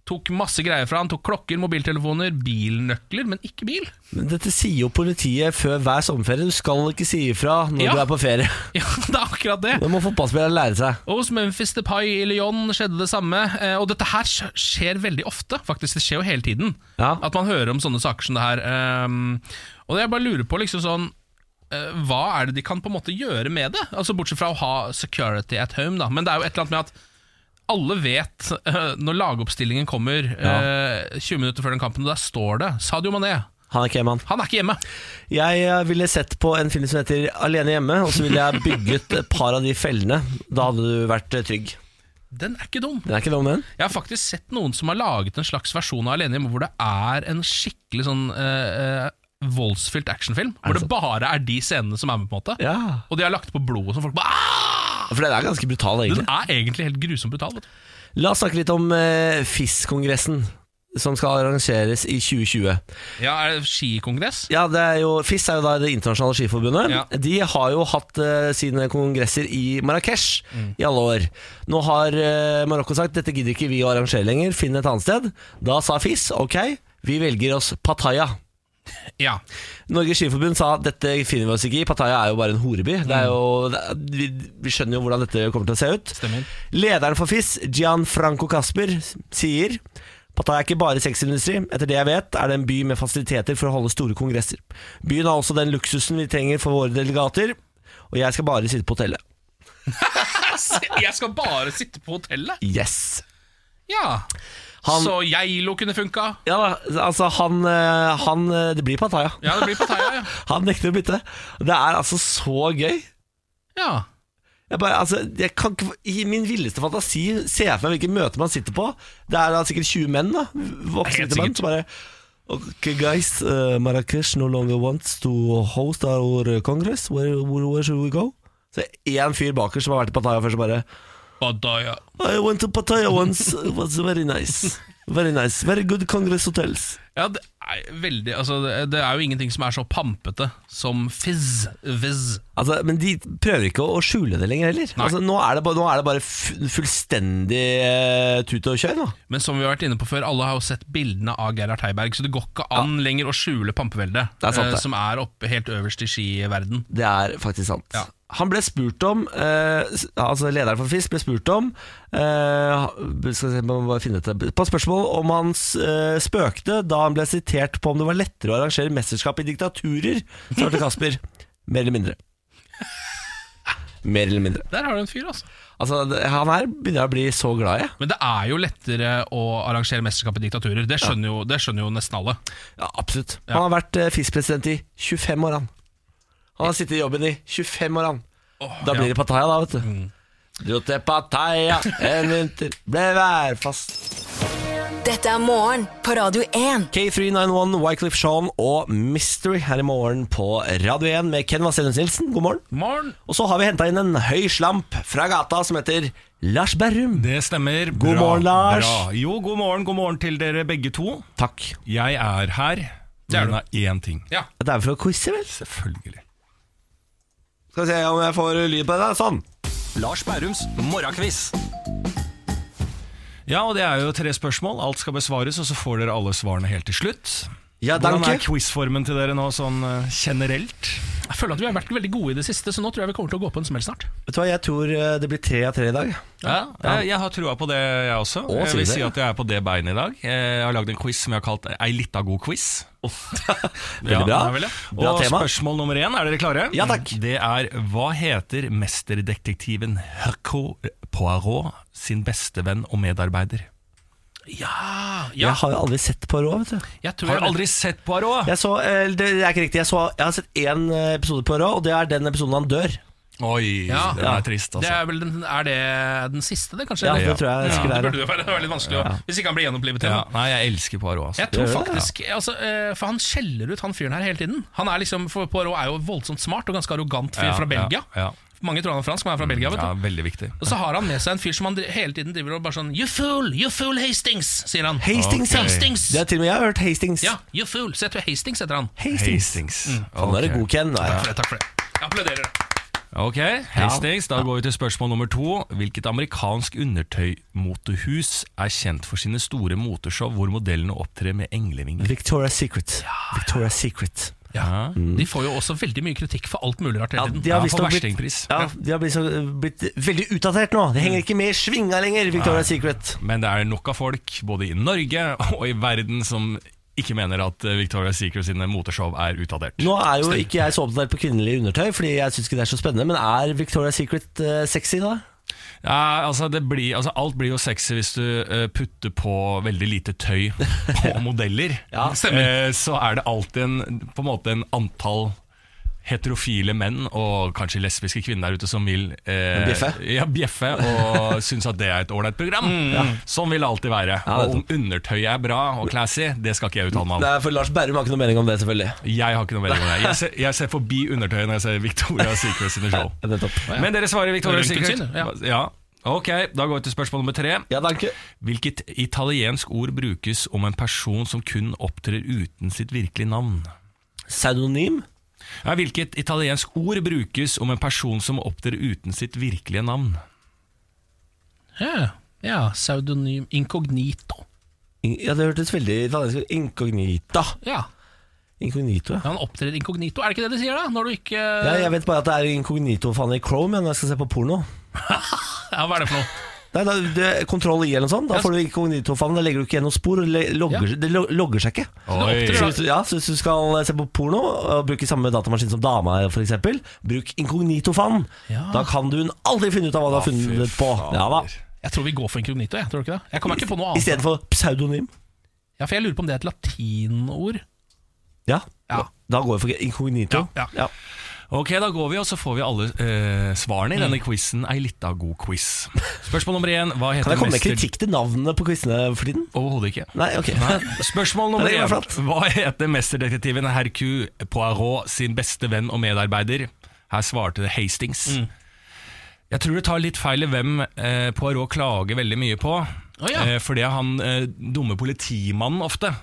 S2: Tok masse greier fra han, tok klokker, mobiltelefoner, bilnøkler, men ikke bil.
S1: Men Dette sier jo politiet før hver sommerferie. Du skal ikke si ifra når
S2: Ja.
S1: du er på ferie.
S2: Ja, det er akkurat det.
S1: Det må fotballspillere lære seg.
S2: Og hos Memphis Depay i Lyon skjedde det samme. eh, Og dette her sk- skjer veldig ofte, faktisk. Det skjer jo hele tiden.
S1: Ja.
S2: At man hører om sånne saker som det her. ehm, Og jeg bare lurer på liksom sånn eh, Hva er det de kan på en måte gjøre med det? Altså Bortsett fra å ha security at home, da. Men det er jo et eller annet med at alle vet eh, når lagoppstillingen kommer eh, 20 minutter før den kampen, og der står det Sadio Mané.
S1: Han er ikke hjemme, han.
S2: Han er ikke hjemme.
S1: Jeg eh, ville sett på en film som heter Alene hjemme, og så ville jeg bygget et par av de fellene. Da hadde du vært eh, trygg.
S2: Den er ikke dum.
S1: Den er ikke dum, den.
S2: Jeg har faktisk sett noen som har laget en slags versjon av Alene hjemme, hvor det er en skikkelig sånn eh, eh, voldsfylt actionfilm. Hvor det bare er de scenene som er med, på en måte.
S1: Ja.
S2: Og de har lagt på blodet som folk bare «Ah!»
S1: For den er ganske brutal,
S2: Den
S1: egentlig.
S2: er egentlig helt grusomt brutal. Vet du.
S1: La oss snakke litt om eh, FIS-kongressen. Som skal arrangeres i 2020.
S2: Ja, er det skikongress?
S1: Ja, det er jo, FIS er jo da Det internasjonale skiforbundet.
S2: Ja.
S1: De har jo hatt eh, sine kongresser i Marrakech i alle år. Nå har eh, Marokko sagt dette gidder ikke vi å arrangere lenger, finn et annet sted. Da sa FIS ok, vi velger oss Pattaya.
S2: Ja.
S1: Norges Skiforbund sa dette finner vi oss ikke i. Pattaya er jo bare en horeby. Det er jo, det er, vi, vi skjønner jo hvordan dette kommer til å se ut.
S2: Stemmer.
S1: Lederen for FIS, Gianfranco Casper, sier Pattaya er ikke bare sexindustri. Etter det jeg vet, er det en by med fasiliteter for å holde store kongresser. Byen har også den luksusen vi trenger for våre delegater, og jeg skal bare sitte på hotellet.
S2: Jeg skal bare sitte på hotellet?
S1: Yes!
S2: Ja.
S1: Han-
S2: Så Geilo kunne funka.
S1: Ja da, altså han, eh, han eh, Det blir Pattaya.
S2: Ja, det blir Pattaya, ja.
S1: Han nekter å bytte. Det er altså så gøy.
S2: ja.
S1: Jeg bare, altså, jeg kan ikke, I min villeste fantasi ser jeg for meg hvilke møter man sitter på. Det er da sikkert 20 menn. da Voksne
S2: Helt
S1: menn
S2: sikkert.
S1: som bare Ok, guys. Uh, Marrakech no longer wants to host our congress. Where, where, where should we go? Så én fyr bakerst som har vært i Pattaya før, som bare
S2: Pattaya.
S1: I went to Pattaya once. It was very nice. Very nice. Very good congress hotels.
S2: Ja, det er, veldig, altså, det- det er jo ingenting som er så pampete som fizz. Fizz.
S1: Altså, men de prøver ikke å å skjule det lenger heller.
S2: Nei.
S1: Altså, nå, er det, ba- nå er det bare fu- fullstendig eh, tut og kjør. nå
S2: Men som vi har vært inne på før, alle har jo sett bildene av Gerhard Heiberg, så det går ikke an lenger å skjule pampeveldet,
S1: Det er sant,
S2: eh,
S1: det.
S2: som er oppe helt øverst i skiverden.
S1: Det er faktisk sant.
S2: Ja.
S1: Han ble spurt om eh, s- Altså Lederen for FIS ble spurt om eh, skal vi se, må bare finne dette. På spørsmål om han s- eh, spøkte da han ble sitert på om det var lettere å arrangere mesterskap i diktaturer, svarte Kasper. Mer eller mindre. Mer eller mindre.
S2: Der har du en fyr, altså.
S1: Altså, det- han her begynner jeg å bli så glad i.
S2: Men det er jo lettere å arrangere mesterskap i diktaturer. Det skjønner jo, det skjønner jo nesten alle.
S1: Ja, absolutt. Han har vært eh, FIS-president i 25 år, han. Han har sittet i jobben i 25 år, han. Da blir det Pattaya, da, vet du. Dro til Pattaya en vinter, ble værfast.
S3: Dette er morgen på Radio 1.
S1: K391, Wycliffe Sean og Mystery her i morgen på Radio 1 med Ken Vasenus Nilsen. God morgen.
S2: Morgen!
S1: Og så har vi henta inn en høy slamp fra gata som heter Lars Berrum.
S6: Det stemmer.
S1: God morgen, Lars.
S6: Bra. Jo, god morgen, god morgen til dere begge to.
S1: Takk.
S6: Jeg er her. Det
S2: er
S6: er av én ting.
S2: Ja.
S1: Det er vel for å quize, vel?
S6: Selvfølgelig.
S1: Skal vi se om jeg får lyd på det. Sånn.
S7: Lars Bærums morgenquiz.
S6: Ja, og det er jo tre spørsmål. Alt skal besvares, og så får dere alle svarene helt til slutt.
S1: Ja,
S6: Hvordan er
S1: danke.
S6: quizformen til dere nå sånn eh, generelt?
S2: Jeg føler at vi har vært veldig gode i det siste, så nå tror jeg vi kommer til å gå på en smell snart.
S1: Vet du hva, jeg tror eh, det blir tre av tre i dag.
S6: Ja, jeg, jeg har trua på det, jeg også.
S1: Å, sier
S6: jeg vil
S1: du det,
S6: si
S1: ja.
S6: at jeg er på det beinet i dag. Jeg har lagd en quiz som jeg har kalt Ei lita god quiz. Veldig
S1: bra. Bra
S6: Og
S1: tema.
S6: spørsmål nummer én, er dere klare?
S1: Ja, takk.
S6: Det er hva heter mesterdetektiven Hercule Poirot sin bestevenn og medarbeider?
S2: Ja,
S1: Jeg har jo aldri sett på Rå, vet du.
S2: Jeg tror
S6: Ah, Har
S2: jeg
S6: du aldri sett Poirot?
S1: Jeg så, eh, det er ikke riktig, jeg, så, jeg har sett én eh, episode på Rå, og det er den episoden han dør.
S2: vet-
S6: Oi,
S2: Ja.
S6: den er trist,
S2: Det
S6: altså.
S2: er, vel den, er det den siste, det, kanskje?
S1: Ja,
S2: eller?
S1: det tror jeg
S2: Ja,
S1: skulle
S2: det
S1: være.
S2: burde jo være, det var litt vanskelig å, Hvis ikke han blir gjenopplivet igjen.
S6: Ja.
S2: da.
S6: Nei, jeg elsker Poirot, altså.
S2: Jeg tror
S1: Gjør det?
S2: faktisk altså, eh, For han skjeller ut han fyren her hele tiden. Han er liksom, for Poirot er jo voldsomt smart og ganske arrogant fyr
S6: Ja,
S2: fra Belgia.
S6: Ja, ja.
S2: Mange tror han er fransk, men han er fra Belgia. vet du
S6: Ja, veldig viktig.
S2: Og så har han med seg en fyr som han dri- hele tiden driver og bare sånn You fool! You fool Hastings! sier han.
S1: Hastings, ja.
S2: Hastings!
S1: Det er til og med jeg har hørt Hastings.
S2: Ja, you fool! Så jeg tror Hastings heter han.
S1: Hastings.
S6: Hastings.
S2: Mm.
S1: Faen, da er det god Ken. Da.
S2: Takk for det, takk for det. Jeg applauderer det.
S6: Ok, Hastings, da går vi til spørsmål nummer to. Hvilket amerikansk undertøymotehus er kjent for sine store moteshow hvor modellene opptrer med englevinger?
S1: Victoria's Secret. Victoria's Secret.
S6: Ja.
S2: Mm. De får jo også veldig mye kritikk for alt mulig rart
S1: Ja,
S2: hele tiden.
S1: de har
S6: Ja,
S1: visstnok
S6: for
S1: blitt,
S6: verstingpris.
S1: ja, Mm. de har blitt, så, blitt veldig utdatert nå. Det henger ikke med i svinga lenger, Victoria's Secret.
S6: Men det er nok av folk, både i Norge og i verden, som ikke mener at eh, Victoria's Secret sine moteshow er utdatert.
S1: Nå er jo ikke jeg så oppdatert på kvinnelig undertøy, Fordi jeg syns ikke det er så spennende. Men er Victoria's Secret eh, sexy, da?
S6: Ja, altså, det blir, altså Alt blir jo sexy hvis du eh, putter på veldig lite tøy på modeller.
S1: Ja,
S2: stemmer.
S6: Eh, så er det alltid en, på en måte en antall heterofile menn og kanskje lesbiske kvinner der ute som vil eh,
S1: Bjeffe.
S6: Ja, bjeffe og syns at det er et ålreit program. Sånn vil det alltid være.
S1: Mm. Ja,
S6: og om undertøyet er bra og classy, det skal ikke jeg uttale meg om.
S1: Nei, for Lars Berrum har ikke noe mening om det, selvfølgelig.
S6: Jeg har ikke noe mening om det. Jeg ser, jeg ser forbi undertøyet når jeg ser Victoria Secret sine show.
S1: Nettopp.
S6: Men dere svarer Victoria
S2: Røntgen
S6: Secret.
S2: sin, ja.
S6: ja. Ok, da går vi til spørsmål nummer tre.
S1: Ja, danke.
S6: Hvilket italiensk ord brukes om en person som kun opptrer uten sitt virkelige navn?
S1: Pseudonym?
S6: Ja, hvilket italiensk ord brukes om en person som opptrer uten sitt virkelige navn?
S2: Ja, ja pseudonym incognito.
S1: In- Ja, det hørtes veldig italiensk ut. Incognita.
S2: Ja,
S1: Incognito, ja.
S2: han opptrer incognito. Er det ikke det de sier, da? Når du ikke
S1: ja. Jeg vet bare at det er incognito-faen i Chrome ja, når jeg skal se på porno.
S2: Ja, hva er det for noe?
S1: Nei, da, det, Kontroll I eller noe sånt. Da får du inkognito-faen. Da legger du ikke igjen noe spor. og le- logger, Det lo- logger seg ikke.
S2: Du
S1: Så
S2: opptrer
S1: hvis, du, ja, så hvis du skal se på porno og bruke samme datamaskin som dama, for eksempel, bruk inkognito-fanen. Da kan du aldri finne ut av hva du har funnet på. Ja, da.
S2: Jeg tror vi går for incognito, jeg. Tror du ikke det? Jeg kommer ikke på noe annet.
S1: Istedenfor pseudonym.
S2: Ja, for jeg lurer på om det er et latinord.
S1: Ja.
S2: Ja.
S1: Da går jeg for inkognito.
S2: Ja,
S1: Ja.
S6: Ok, da går vi, og så får vi alle eh, svarene i denne quizen. Ei lita god quiz. Spørsmål nummer én.
S1: Mm.
S6: Hva
S1: Kan
S6: heter
S1: jeg komme med
S6: mester-
S1: kritikk til navnene på quizene for tiden?
S6: Overhodet ikke.
S1: Nei, ok.
S6: Spørsmål nummer
S1: Det er
S6: én.
S1: flatt.
S6: Hva heter mesterdetektiven Hercule Poirot sin beste venn og medarbeider? Her svarte det Hastings.
S2: Mm.
S6: Jeg tror det tar litt feil i hvem eh, Poirot klager veldig mye på.
S2: Å, ja.
S6: eh, for det er han eh, dumme politimannen ofte.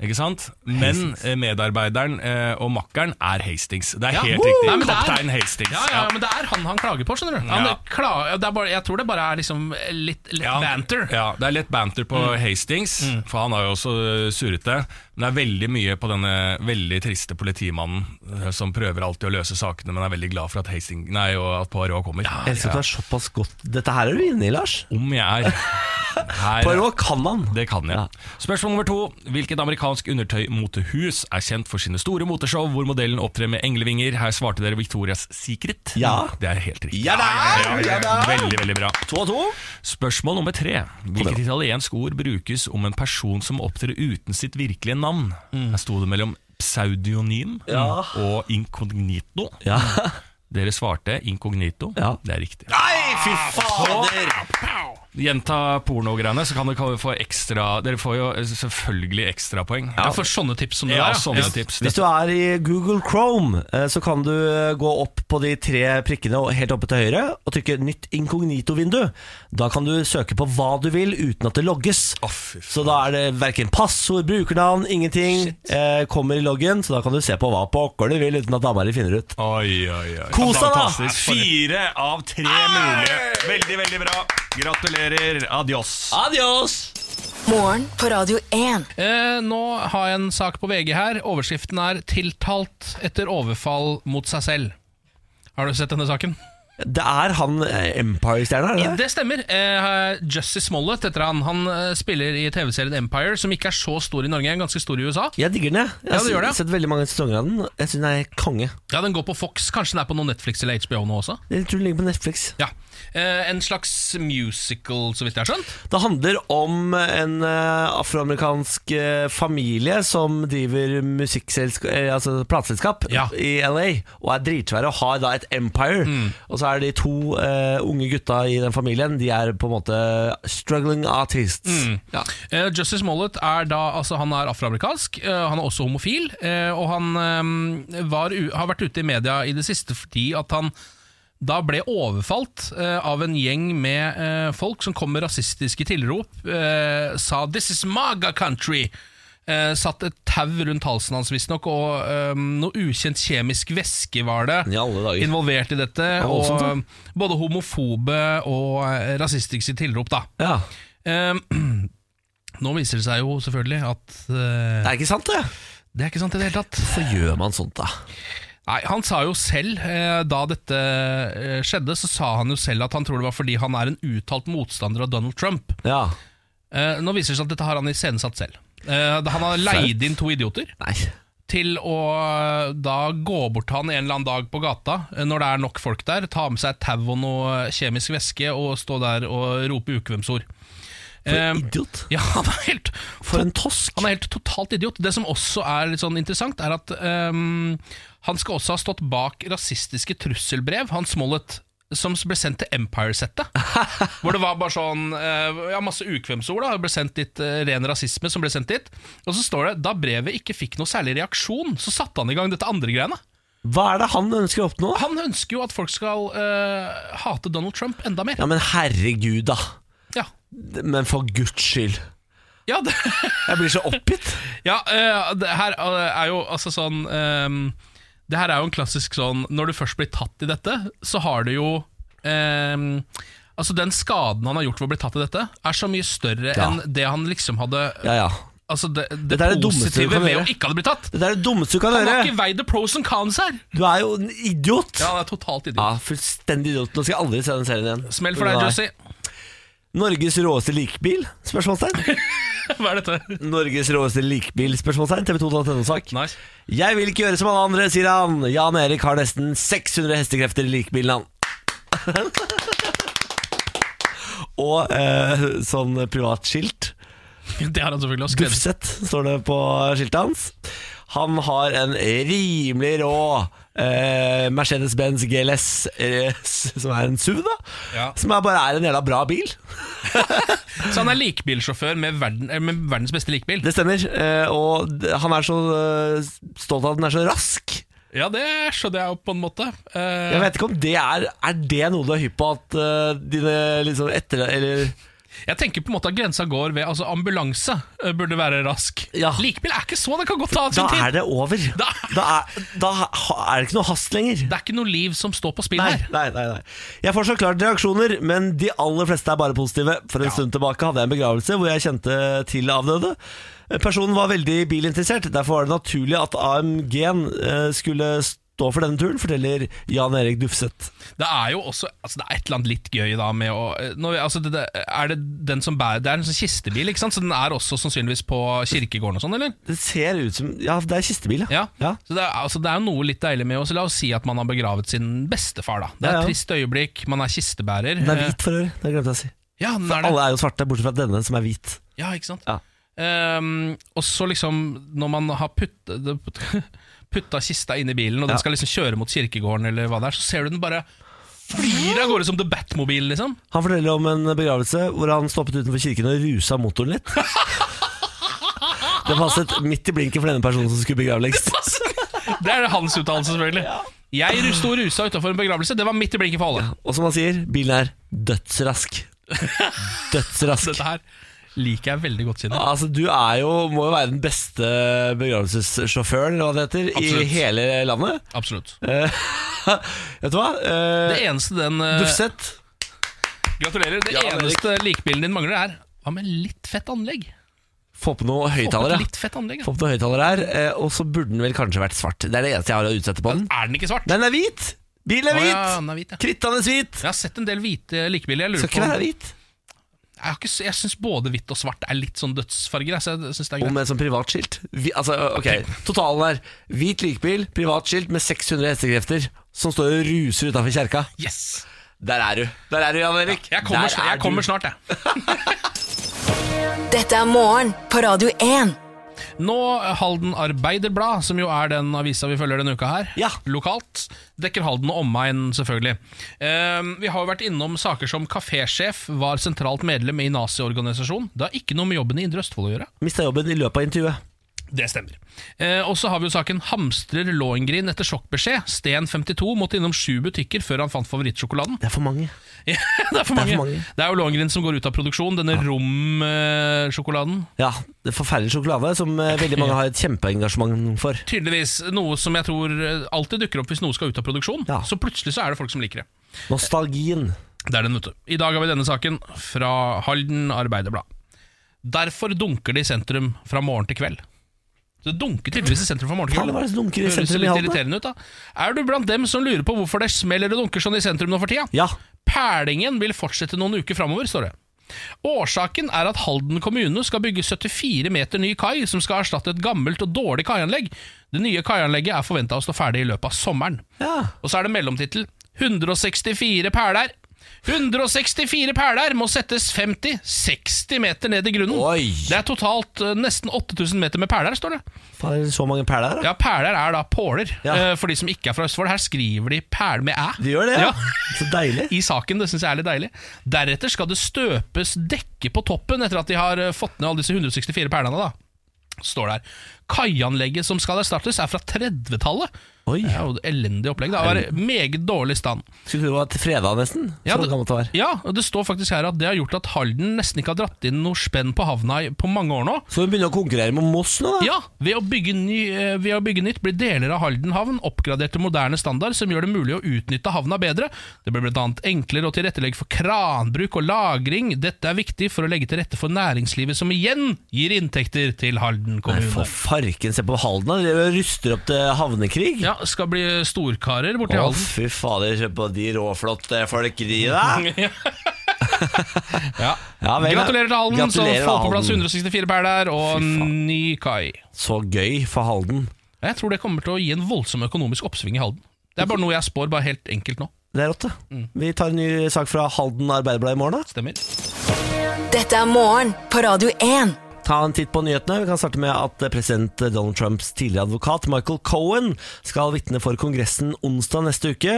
S6: Ikke sant? Men eh, medarbeideren eh, og makkeren er Hastings. Det er
S2: Ja.
S6: helt
S2: Woo!
S6: riktig.
S2: Nei, men det er-
S6: Kaptein Hastings.
S2: Ja, ja, men det er han han klager på, skjønner du. Han
S6: Ja.
S2: klager, det er bare, jeg tror det bare er liksom litt, litt
S6: Ja,
S2: banter.
S6: Ja, det er litt banter på Hastings, for han har jo også øh, surret det. Men det er veldig mye på denne veldig triste politimannen øh, som prøver alltid å løse sakene, men er veldig glad for at, Hastings, nei, og at Poirot kommer.
S1: Jeg elsker at det er såpass godt Dette her er du inne i, Lars.
S6: Om jeg er her
S1: Poirot kan han.
S6: Det kan jeg.
S1: Ja.
S6: Spørsmål nummer to. Hvilket amerikansk undertøy-motehus er kjent for sine store moteshow hvor modellen opptrer med englevinger? Her svarte dere Victorias Secret.
S1: Ja.
S6: Det er helt riktig.
S1: Ja da! Ja da!
S6: Veldig, veldig bra.
S1: To og to.
S6: Spørsmål nummer tre. Hvilket italiensk ord brukes om en person som opptrer uten sitt virkelige navn? Her sto det mellom pseudonym
S1: Ja.
S6: og incognito.
S1: Ja.
S6: Dere svarte incognito.
S1: Ja.
S6: Det er riktig.
S1: Nei, fy fader!
S6: Gjenta pornogreiene, så kan dere få ekstra Dere får jo eh, selvfølgelig ekstrapoeng.
S2: Ja, for sånne tips som det
S6: Ja,
S2: der.
S6: sånne altså, tips.
S1: Hvis du er i Google Chrome, eh, så kan du eh, gå opp på de tre prikkene og- helt oppe til høyre og trykke 'nytt inkognito-vindu'. Da kan du søke på hva du vil uten at det logges. Så da er det verken passord, brukernavn, ingenting eh, kommer i loggen. Så da kan du se på hva pokker du vil uten at dama di finner ut.
S6: Oi, oi, oi.
S1: Kos deg, da!
S6: Fantastisk. Fire av tre mulige. Veldig, veldig bra. Gratulerer. Adios.
S1: Adios!
S3: Morgen på Radio 1.
S2: Eh, nå har jeg en sak på VG her. Overskriften er 'Tiltalt etter overfall mot seg selv'. Har du sett denne saken?
S1: Det er han eh, Empire-stjerna, er det det?
S2: Det stemmer. Eh, Jussie Smollett heter han. Han eh, spiller i TV-serien Empire, som ikke er så stor i Norge, ganske stor i USA.
S1: Jeg digger den, jeg. Jeg
S2: Ja,
S1: har
S2: du gjør det.
S1: sett veldig mange sesonger av den. Jeg syns den er konge.
S2: Ja, Den går på Fox, kanskje den er på noe Netflix eller HBO nå også?
S1: Jeg tror den ligger på Netflix.
S2: Ja. Eh, en slags musical, så vidt jeg har skjønt.
S1: Det handler om en eh, afroamerikansk eh, familie som driver musikkselsk- eh, altså plateselskap
S2: Ja.
S1: i LA, og er dritsvære og har da et empire. Og så er de to eh, unge gutta i den familien, de er på en måte struggling artists. Ja.
S2: Eh, Justice Smollett er da altså Han er afroamerikansk, eh, han er også homofil, eh, og han eh, var, u- har vært ute i media i det siste fordi at han da ble overfalt eh, av en gjeng med eh, folk som kom med rasistiske tilrop, eh, sa 'This is Maga country'. Eh, satt et tau rundt halsen hans, visstnok, og eh, noe ukjent kjemisk væske var det
S1: I alle dager.
S2: involvert i dette.
S1: voldsomt,
S2: Og
S1: da.
S2: eh, både homofobe og eh, rasistiske tilrop, da.
S1: Ja.
S2: Eh, nå viser det seg jo selvfølgelig at eh,
S1: Det er ikke sant, det?
S2: det er ikke sant i det hele tatt.
S1: Hvorfor gjør man sånt, da?
S2: Nei, Han sa jo selv, eh, da dette eh, skjedde, så sa han jo selv at han tror det var fordi han er en uttalt motstander av Donald Trump.
S1: Ja.
S2: Eh, nå viser det seg at dette har han iscenesatt selv. Eh, han har leid inn to idioter
S1: Nei.
S2: til å eh, da gå bort til han en eller annen dag på gata eh, når det er nok folk der, ta med seg et tau og noe kjemisk væske og stå der og rope ukvemsord.
S1: For
S2: Eh,
S1: en idiot.
S2: ja, han er helt
S1: For en tosk.
S2: Han er helt totalt idiot. Det som også er litt sånn interessant, er at ehm, han skal også ha stått bak rasistiske trusselbrev, han Smollett, som ble sendt til Empire-settet. hvor det var bare sånn eh, Ja, masse ukvemsord, da. Det ble sendt dit eh, ren rasisme som ble sendt dit. Og så står det da brevet ikke fikk noe særlig reaksjon, så satte han i gang dette andre greiene.
S1: Hva er det han ønsker å oppnå?
S2: Han ønsker jo at folk skal eh, hate Donald Trump enda mer.
S1: Ja, men herregud, da.
S2: Ja.
S1: Men for guds skyld.
S2: Ja, det
S1: Jeg blir så oppgitt.
S2: Ja, eh, det her eh, er jo altså sånn ehm, Det her er jo en klassisk sånn Når du først blir tatt i dette, så har du jo ehm, Altså Den skaden han har gjort ved å bli tatt i dette, er så mye større
S1: Ja.
S2: enn det han liksom hadde
S1: Ja, ja.
S2: Altså det, det,
S1: Dette er det dummeste du
S2: positive
S1: kan
S2: ved å
S1: gjøre.
S2: ikke hadde blitt tatt.
S1: Det er det dummeste du kan
S2: Han har
S1: gjøre.
S2: ikke veid the pros and cons her!
S1: Du er jo en idiot.
S2: Ja, han er totalt idiot.
S1: Ja, fullstendig idiot. Nå skal jeg aldri se den serien igjen.
S2: Smell for deg,
S1: Nei.
S2: Jussie.
S1: Norges råeste likbil? Spørsmålstegn.
S2: Hva er dette?
S1: Norges råeste likbil? Spørsmålstegn. TV2.no-sak.
S2: Nice.
S1: Jeg vil ikke gjøre som alle andre, sier han. Jan Erik har nesten 600 hestekrefter i likbilen, han. Og eh, sånn privatskilt.
S2: Det har han selvfølgelig også skrevet.
S1: Dufset, står det på skiltet hans. Han har en rimelig rå eh, Mercedes-Benz GLS, eh, s- som er en SUV, da.
S2: Ja.
S1: Som er bare er en jævla bra bil.
S2: Så han er likbilsjåfør med, verden, eh, med verdens beste likbil.
S1: Det stemmer. eh, og d- han er så eh, stolt av at den er så rask.
S2: Ja, det skjønner jeg jo på en måte. Eh,
S1: Jeg vet ikke om det er Er det noe du er hypp på at eh, dine liksom etter... Eller
S2: Jeg tenker på en måte at grensa går ved altså Ambulanse eh, burde være rask.
S1: Ja.
S2: Likbil er ikke så, det kan godt ta
S1: Da
S2: sin tid.
S1: er det over. Da,
S2: Da-
S1: er, da ha- er det ikke noe hast lenger.
S2: Det er ikke noe liv som står på spill
S1: Nei,
S2: her.
S1: nei, nei, nei. Jeg får så klart reaksjoner, men de aller fleste er bare positive. For en stund tilbake hadde jeg en begravelse hvor jeg kjente til avdøde. Personen var veldig bilinteressert, derfor var det naturlig at AMG-en eh, skulle stå for denne turen, forteller Jan Erik Dufset.
S2: Det er jo også altså det er et eller annet litt gøy da med å eh, nå, altså det, det, er det, den som bærer, det er en sånn kistebil, ikke sant? så den er også sannsynligvis på kirkegården og sånn, eller?
S1: Det ser ut som Ja, det er kistebil,
S2: Ja.
S1: Ja.
S2: Så det er, altså det er jo noe litt deilig med å så La oss si at man har begravet sin bestefar, da. Det
S1: Ja,
S2: er
S1: ja.
S2: et trist øyeblikk, man er kistebærer.
S1: Den er
S2: eh,
S1: hvit for øret, det glemte jeg å si.
S2: Ja, den er det.
S1: Alle er jo svarte, bortsett fra denne som er hvit.
S2: Ja, ikke sant?
S1: Ja.
S2: Ehm, og så liksom, når man har putta, putta kista inn i bilen, og den skal liksom kjøre mot kirkegården, eller hva det er, så ser du den bare flyr av gårde som The Batmobile, liksom.
S1: Han forteller om en begravelse hvor han stoppet utenfor kirken og rusa motoren litt. Det passet midt i blinken for denne personen som skulle begrave lengst.
S2: Det er hans uttalelse, selvfølgelig. Jeg sto rusa utafor en begravelse, det var midt i blinken for alle.
S1: Og som han sier, bilen er dødsrask. Dødsrask.
S2: Dette her liker jeg veldig godt, Synne.
S1: Altså, Du er jo, må jo være den beste begravelsessjåføren eller hva det heter,
S2: Absolutt.
S1: i hele landet.
S2: Absolutt.
S1: Eh, vet du hva? Eh,
S2: Det eneste den eh,
S1: Dufset.
S2: Gratulerer. Det
S1: Ja, Erik.
S2: eneste likbilen din mangler, er hva med litt fett anlegg?
S1: Få på noe
S2: Få på et
S1: høyttalere.
S2: Litt fett anlegg,
S1: Få
S2: ja.
S1: på noe høyttaler her, eh, og så burde den vel kanskje vært svart. Det er det eneste jeg har å utsette på den.
S2: Er den ikke svart?
S1: Nei, den er hvit! Bilen er
S2: Å,
S1: hvit!
S2: ja, den er hvit, ja.
S1: Krittende hvit!
S2: Jeg har sett en del hvite likebiler. Jeg lurer
S1: Skal ikke
S2: på
S1: være hvit.
S2: Jeg, har ikke s- jeg syns både hvitt og svart er litt sånn dødsfarger. jeg, Så jeg synes det er
S1: Og
S2: greit
S1: med sånn privatskilt. Vi, altså, ok, Totalen er hvit likbil, privatskilt med 600 hestekrefter, som står og ruser utafor kjerka.
S2: Yes!
S1: Der er du, Der er du, Jan Erik.
S2: Jeg kommer,
S1: Der
S2: sn-
S1: er
S2: jeg kommer
S1: du.
S2: snart, jeg.
S3: Dette er morgen på Radio 1.
S2: Nå Halden Arbeiderblad, som jo er den avisa vi følger denne uka her,
S1: Ja.
S2: lokalt, dekker Halden og omegn, selvfølgelig. Ehm, vi har jo vært innom saker som kafésjef var sentralt medlem i naziorganisasjon. Det har ikke noe med jobben i Indre Østfold å gjøre.
S1: Mista jobben i løpet av intervjuet.
S2: Det stemmer. Eh, og så har vi jo saken 'Hamstrer Låengrin etter sjokkbeskjed'. Sten 52 måtte innom sju butikker før han fant favorittsjokoladen.
S1: Det er for mange.
S2: Ja, det, er for mange.
S1: for mange.
S2: det er jo Låengrin som går ut av produksjon, denne rom-sjokoladen.
S1: Ja, det er Forferdelig sjokolade som eh, veldig mange har et kjempeengasjement for.
S2: Tydeligvis noe som jeg tror eh, alltid dukker opp hvis noe skal ut av produksjon.
S1: Ja.
S2: Så plutselig så er det folk som liker det.
S1: Nostalgien.
S2: Det er den, vet du. I dag har vi denne saken fra Halden Arbeiderblad. Derfor dunker det i sentrum fra morgen til kveld. Så Det dunker tydeligvis i sentrum fra morgen til
S1: Faen,
S2: kveld.
S1: hva er det som dunker i
S2: Høres
S1: sentrum i
S2: litt
S1: Halden, da?
S2: irriterende ut, da. Er du blant dem som lurer på hvorfor det smeller og dunker sånn i sentrum nå for tida?
S1: Ja.
S2: Perlingen vil fortsette noen uker framover, står det. Årsaken er at Halden kommune skal bygge 74 meter ny kai, som skal erstatte et gammelt og dårlig kaianlegg. Det nye kaianlegget er forventa å stå ferdig i løpet av sommeren.
S1: ja.
S2: Og så er det mellomtittel 164 perler. 164 perler må settes 50-60 meter ned i grunnen.
S1: Oi.
S2: Det er totalt eh, nesten 8000 meter med perler, står det.
S1: Faen, er det så mange perler her, da.
S2: Ja, Perler er da påler,
S1: Ja.
S2: eh, for de som ikke er fra Østfold. Her skriver de perl med æ.
S1: De gjør det, ja.
S2: Ja.
S1: Så deilig.
S2: I saken, det syns jeg er litt deilig. Deretter skal det støpes dekke på toppen, etter at de har eh, fått ned alle disse 164 perlene. da Står der. Kaianlegget som skal erstattes, er fra 30-tallet.
S1: Oi.
S2: Det er jo et elendig opplegg. Det var i meget dårlig stand.
S1: Skulle tro det var til fredag, nesten. Så
S2: Ja, det-
S1: gammelt det var.
S2: Ja, og Det står faktisk her at det har gjort at Halden nesten ikke har dratt inn noe spenn på havna i- på mange år nå.
S1: Så hun begynner å konkurrere med Moss nå, da.
S2: Ja, ved å, bygge ny, eh, ved å bygge nytt blir deler av Halden havn oppgradert til moderne standard som gjør det mulig å utnytte havna bedre. Det blir bl.a. enklere å tilrettelegge for kranbruk og lagring. Dette er viktig for å legge til rette for næringslivet, som igjen gir inntekter til Halden
S1: Nei,
S2: kommune.
S1: for farken, se på Halden, da. Dere ruster opp til havnekrig.
S2: Ja, skal bli storkarer borti
S1: Å,
S2: Halden.
S1: fy fader, se på de råflotte folk de der.
S2: Ja.
S1: Ja, vel, ja.
S2: Gratulerer til Halden, som
S1: Gratulerer,
S2: får på plass
S1: Halden.
S2: 164 perler og
S1: Fy faen.
S2: ny kai.
S1: Så gøy for Halden.
S2: Jeg tror det kommer til å gi en voldsom økonomisk oppsving i Halden. Det er bare noe jeg spår bare helt enkelt nå.
S1: Det er rått, det. Vi tar en ny sak fra Halden Arbeiderblad i morgen. da.
S2: Stemmer.
S3: Dette er morgen på Radio 1.
S1: Ta en titt på nyhetene. Vi kan starte med at eh, president Donald Trumps tidligere advokat Michael Cohen skal vitne for Kongressen onsdag neste uke.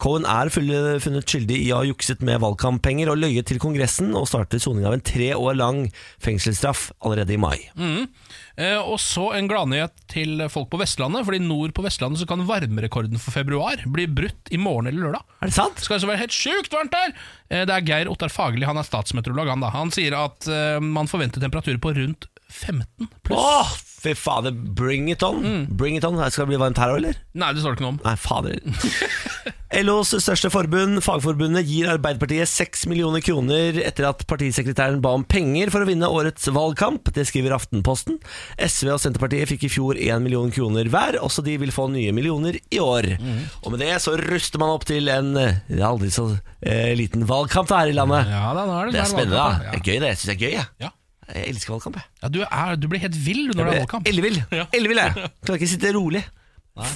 S1: Cohen er full- funnet skyldig i å ha jukset med valgkamppenger og løyet til Kongressen, og starter soning av en tre år lang fengselsstraff allerede i mai.
S2: Eh, og så en gladnyhet til folk på Vestlandet, fordi nord på Vestlandet så kan varmerekorden for februar bli brutt i morgen eller lørdag.
S1: Er det sant?
S2: Det skal altså være helt sjukt varmt der! Eh, Det er Geir Ottar Fagerli, han er statsmeteorolog. Han, da. han sier at eh, man forventer temperaturer på rundt 15 pluss.
S1: Åh, fy fader, bring it on. Bring it on. Her Skal det bli varmt her òg, eller?
S2: Nei, det står det ikke noe om.
S1: Nei, fader. LOs største forbund, Fagforbundet, gir Arbeiderpartiet 6 millioner kroner etter at partisekretæren ba om penger for å vinne årets valgkamp. Det skriver Aftenposten. SV og Senterpartiet fikk i fjor 1 million kroner hver. Også de vil få nye millioner i år.
S2: Mhm.
S1: Og med det så ruster man opp til en eh, det er aldri så eh, liten valgkamp det er her i landet.
S2: Ja, da, nå er det
S1: Det er
S2: snart
S1: spennende.
S2: valgkamp,
S1: da. Det er gøy, det. Jeg syns det er gøy. Jeg,
S2: Ja. Ja.
S1: jeg elsker valgkamp. Jeg.
S2: Ja, du, er, du blir helt vill når det er valgkamp.
S1: Eh, Ellevill.
S2: Ja.
S1: Ellevill, jeg. Klarer ikke sitte rolig.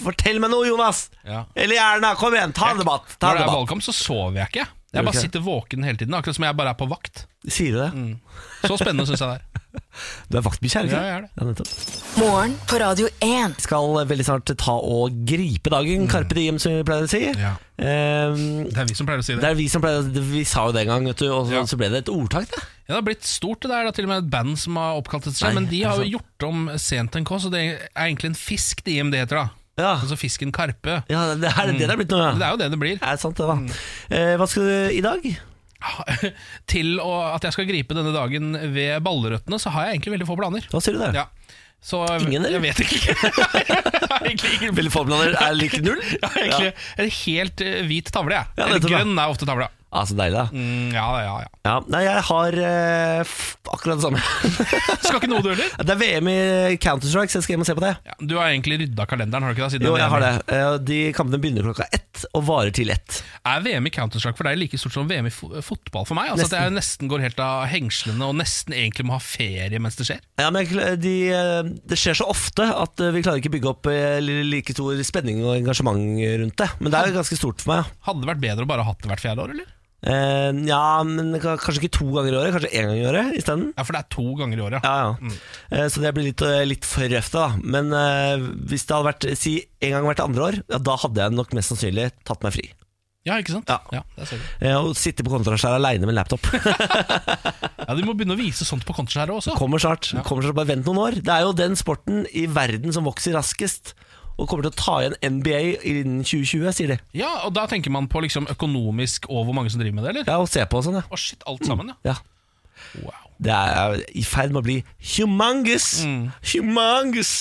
S1: Fortell meg noe, Jonas!
S2: Ja.
S1: Eller Erna, kom igjen! Ta en debatt! Ta en
S2: Når det er
S1: debatt.
S2: valgkamp, så sover jeg ikke. Jeg
S1: Gjør du
S2: bare
S1: ikke?
S2: sitter våken hele tiden, akkurat som jeg bare er på vakt.
S1: Sier du det?
S2: Så spennende syns jeg det er.
S1: Du er vaktbikkje, er du ikke?
S2: Mm. Ja, jeg er det.
S1: Ja, nettopp.
S3: Morgen på Radio 1.
S1: Vi skal veldig snart ta og gripe dagen, Carpe Diem, som vi pleier å si.
S2: Mm. Ja.
S1: Ehm,
S2: Det er vi som pleier å si
S1: det
S2: det.
S1: er vi som pleier å- Vi sa jo det en gang, vet du, og så,
S2: Ja.
S1: så ble det et ordtak, det.
S2: Ja, det har blitt stort, det der. Det er til og med et band som har oppkalt det seg.
S1: Nei,
S2: Men
S1: er
S2: de
S1: det
S2: har
S1: sant?
S2: jo gjort om sent en kås, og det er egentlig en fisk de IMD heter, da.
S1: Ja,
S2: Altså fisken karpe.
S1: ja det det er det det er blitt nå, ja.
S2: Mm. Det er Mm. jo det det blir.
S1: Er det sant, det, da? Eh, hva skal du i dag?
S2: Til å, at jeg skal gripe denne dagen ved ballrøttene, så har jeg egentlig veldig få planer.
S1: Hva sier du der?
S2: Ja. Så eh,
S1: Ingen, eller?
S2: jeg vet ikke. jeg har egentlig ingen
S1: Veldig få planer er lik null?
S2: Jeg har egentlig en helt eh, hvit tavle, jeg.
S1: Ja,
S2: Eller
S1: nettopp, ja.
S2: grønn er ofte tavla.
S1: Ah, så deilig, da.
S2: Mm, ja, ja, ja.
S1: Ja, nei, jeg har eh, f akkurat det samme.
S2: Skal ikke noe du heller?
S1: det er VM i Counter-Strike, så jeg skal hjem og se på det.
S2: Ja, du har egentlig rydda kalenderen, har du ikke det? siden
S1: Jo,
S2: det er
S1: jeg har det.
S2: VM.
S1: Eh, De kampene begynner klokka ett og varer til ett.
S2: Er VM i Counter-Strike for deg like stort som VM i fo- fotball for meg? Altså At jeg nesten går helt av hengslene og nesten egentlig må ha ferie mens det skjer?
S1: Ja, men jeg kl- de, eh, det skjer så ofte at eh, vi klarer ikke bygge opp eh, li- like stor spenning og engasjement rundt det. Men det er jo ganske stort for meg. ja.
S2: Hadde det vært bedre å bare ha hatt det hvert fjerde år, eller?
S1: Eh, ja, men ka- kanskje ikke to ganger i året, kanskje én gang i året isteden.
S2: Ja, for det er to ganger i året, ja.
S1: Ja, ja. Eh, Så det blir litt, eh, litt for røft, da. Men eh, hvis det hadde vært si en gang hvert andre år, ja, da hadde jeg nok mest sannsynlig tatt meg fri.
S2: Ja, ikke sant?
S1: Ja.
S2: det ser du.
S1: Eh, Å sitte på kontraskjær aleine med en laptop.
S2: ja Du må begynne å vise sånt på kontoskjæret også.
S1: Kommer snart. kommer snart, Bare vent noen år. Det er jo den sporten i verden som vokser raskest, og kommer til å ta igjen NBA innen 2020, sier de.
S2: Ja, og Da tenker man på liksom økonomisk og hvor mange som driver med det, eller?
S1: Ja, og se på og sånn, ja.
S2: Å shit, alt sammen,
S1: ja.
S2: ja. Wow.
S1: Det er i ferd med å bli humongous. Humongous.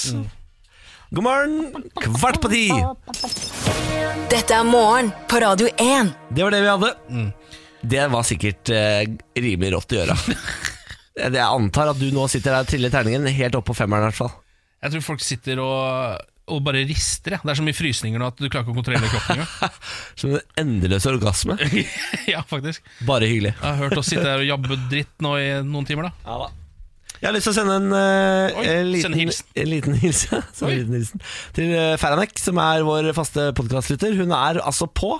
S1: God morgen, kvart på ti.
S3: Dette er morgen på Radio 1.
S1: Det var det vi hadde. Det var sikkert eh, rimelig rått i øra. Jeg antar at du nå sitter der og triller terningen helt opp på femmeren. i hvert fall
S2: Jeg tror folk sitter og, og bare rister. Ja. Det er så mye frysninger nå at du klarer ikke å kontrollere kroppen engang.
S1: Som en endeløs orgasme.
S2: ja, faktisk.
S1: Bare hyggelig.
S2: Jeg har hørt oss sitte her og jabbe dritt nå i noen timer, da.
S1: Jeg har lyst til å sende en, eh,
S2: Oi,
S1: en liten,
S2: send hilsen.
S1: en liten hilsen, som en
S2: Oi.
S1: liten hilsen til eh, Feranek, som er vår faste podkastlytter. Hun er altså på.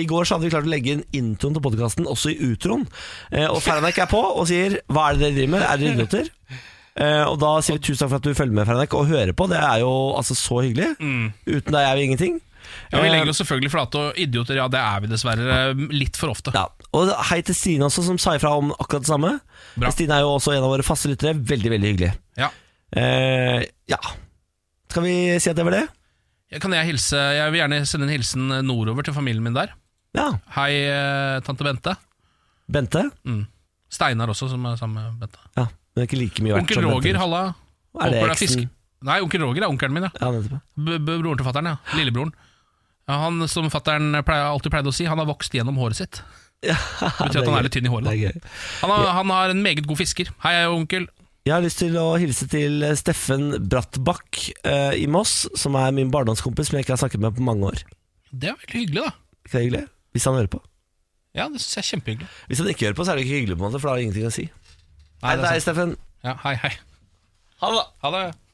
S1: I går så hadde vi klart å legge inn introen til podkasten også i utroen. Eh, og Feranek er på og sier 'hva er det dere driver med, er dere idioter'? Eh, og da sier vi tusen takk for at du følger med Feranek og hører på. Det er jo altså så hyggelig.
S2: Mm.
S1: Uten deg er vi ingenting.
S2: Ja, vi
S1: Eh,
S2: legger oss selvfølgelig flate, og idioter, ja, det er vi dessverre eh, litt for ofte.
S1: Ja, og hei til Stine også, som sa ifra om akkurat det samme.
S2: Bra.
S1: Stine er jo også en av våre faste lyttere. Veldig, veldig hyggelig.
S2: Ja.
S1: Eh, ja. Skal vi si at det var det?
S2: Ja, Kan jeg hilse Jeg vil gjerne sende en hilsen nordover til familien min der.
S1: Ja.
S2: Hei, eh, tante Bente.
S1: Bente?
S2: Steinar også, som er sammen med Bente.
S1: Ja, men det er ikke like mye verdt
S2: Onkel
S1: som
S2: Roger,
S1: Bente.
S2: halla.
S1: Er det
S2: Håper det er
S1: eksen?
S2: fisk. Nei, onkel Roger er onkelen min, ja.
S1: Ja, nettopp.
S2: B -b Broren til fattern, ja. Lillebroren. Ja, han som fattern alltid pleide å si, han har vokst gjennom håret sitt.
S1: Ja,
S2: Det betyr at
S1: er
S2: han er
S1: gøy.
S2: litt tynn i håret.
S1: Det
S2: da.
S1: er gøy.
S2: Han har, han har en meget god fisker. Hei, onkel.
S1: Jeg har lyst til å hilse til Steffen Brattbakk eh, i Moss, som er min barndomskompis, som jeg ikke har snakket med på mange år.
S2: Det er veldig hyggelig, da.
S1: Ikke det hyggelig? Hvis han hører på.
S2: Ja, det syns jeg er kjempehyggelig.
S1: Hvis han ikke hører på, så er det ikke hyggelig, på en måte, for da har det ingenting å si. Hei
S2: Nei,
S1: til
S2: det er
S1: deg, Steffen.
S2: sant. Ja, hei, hei.
S1: Ha det. da.
S2: Ha det.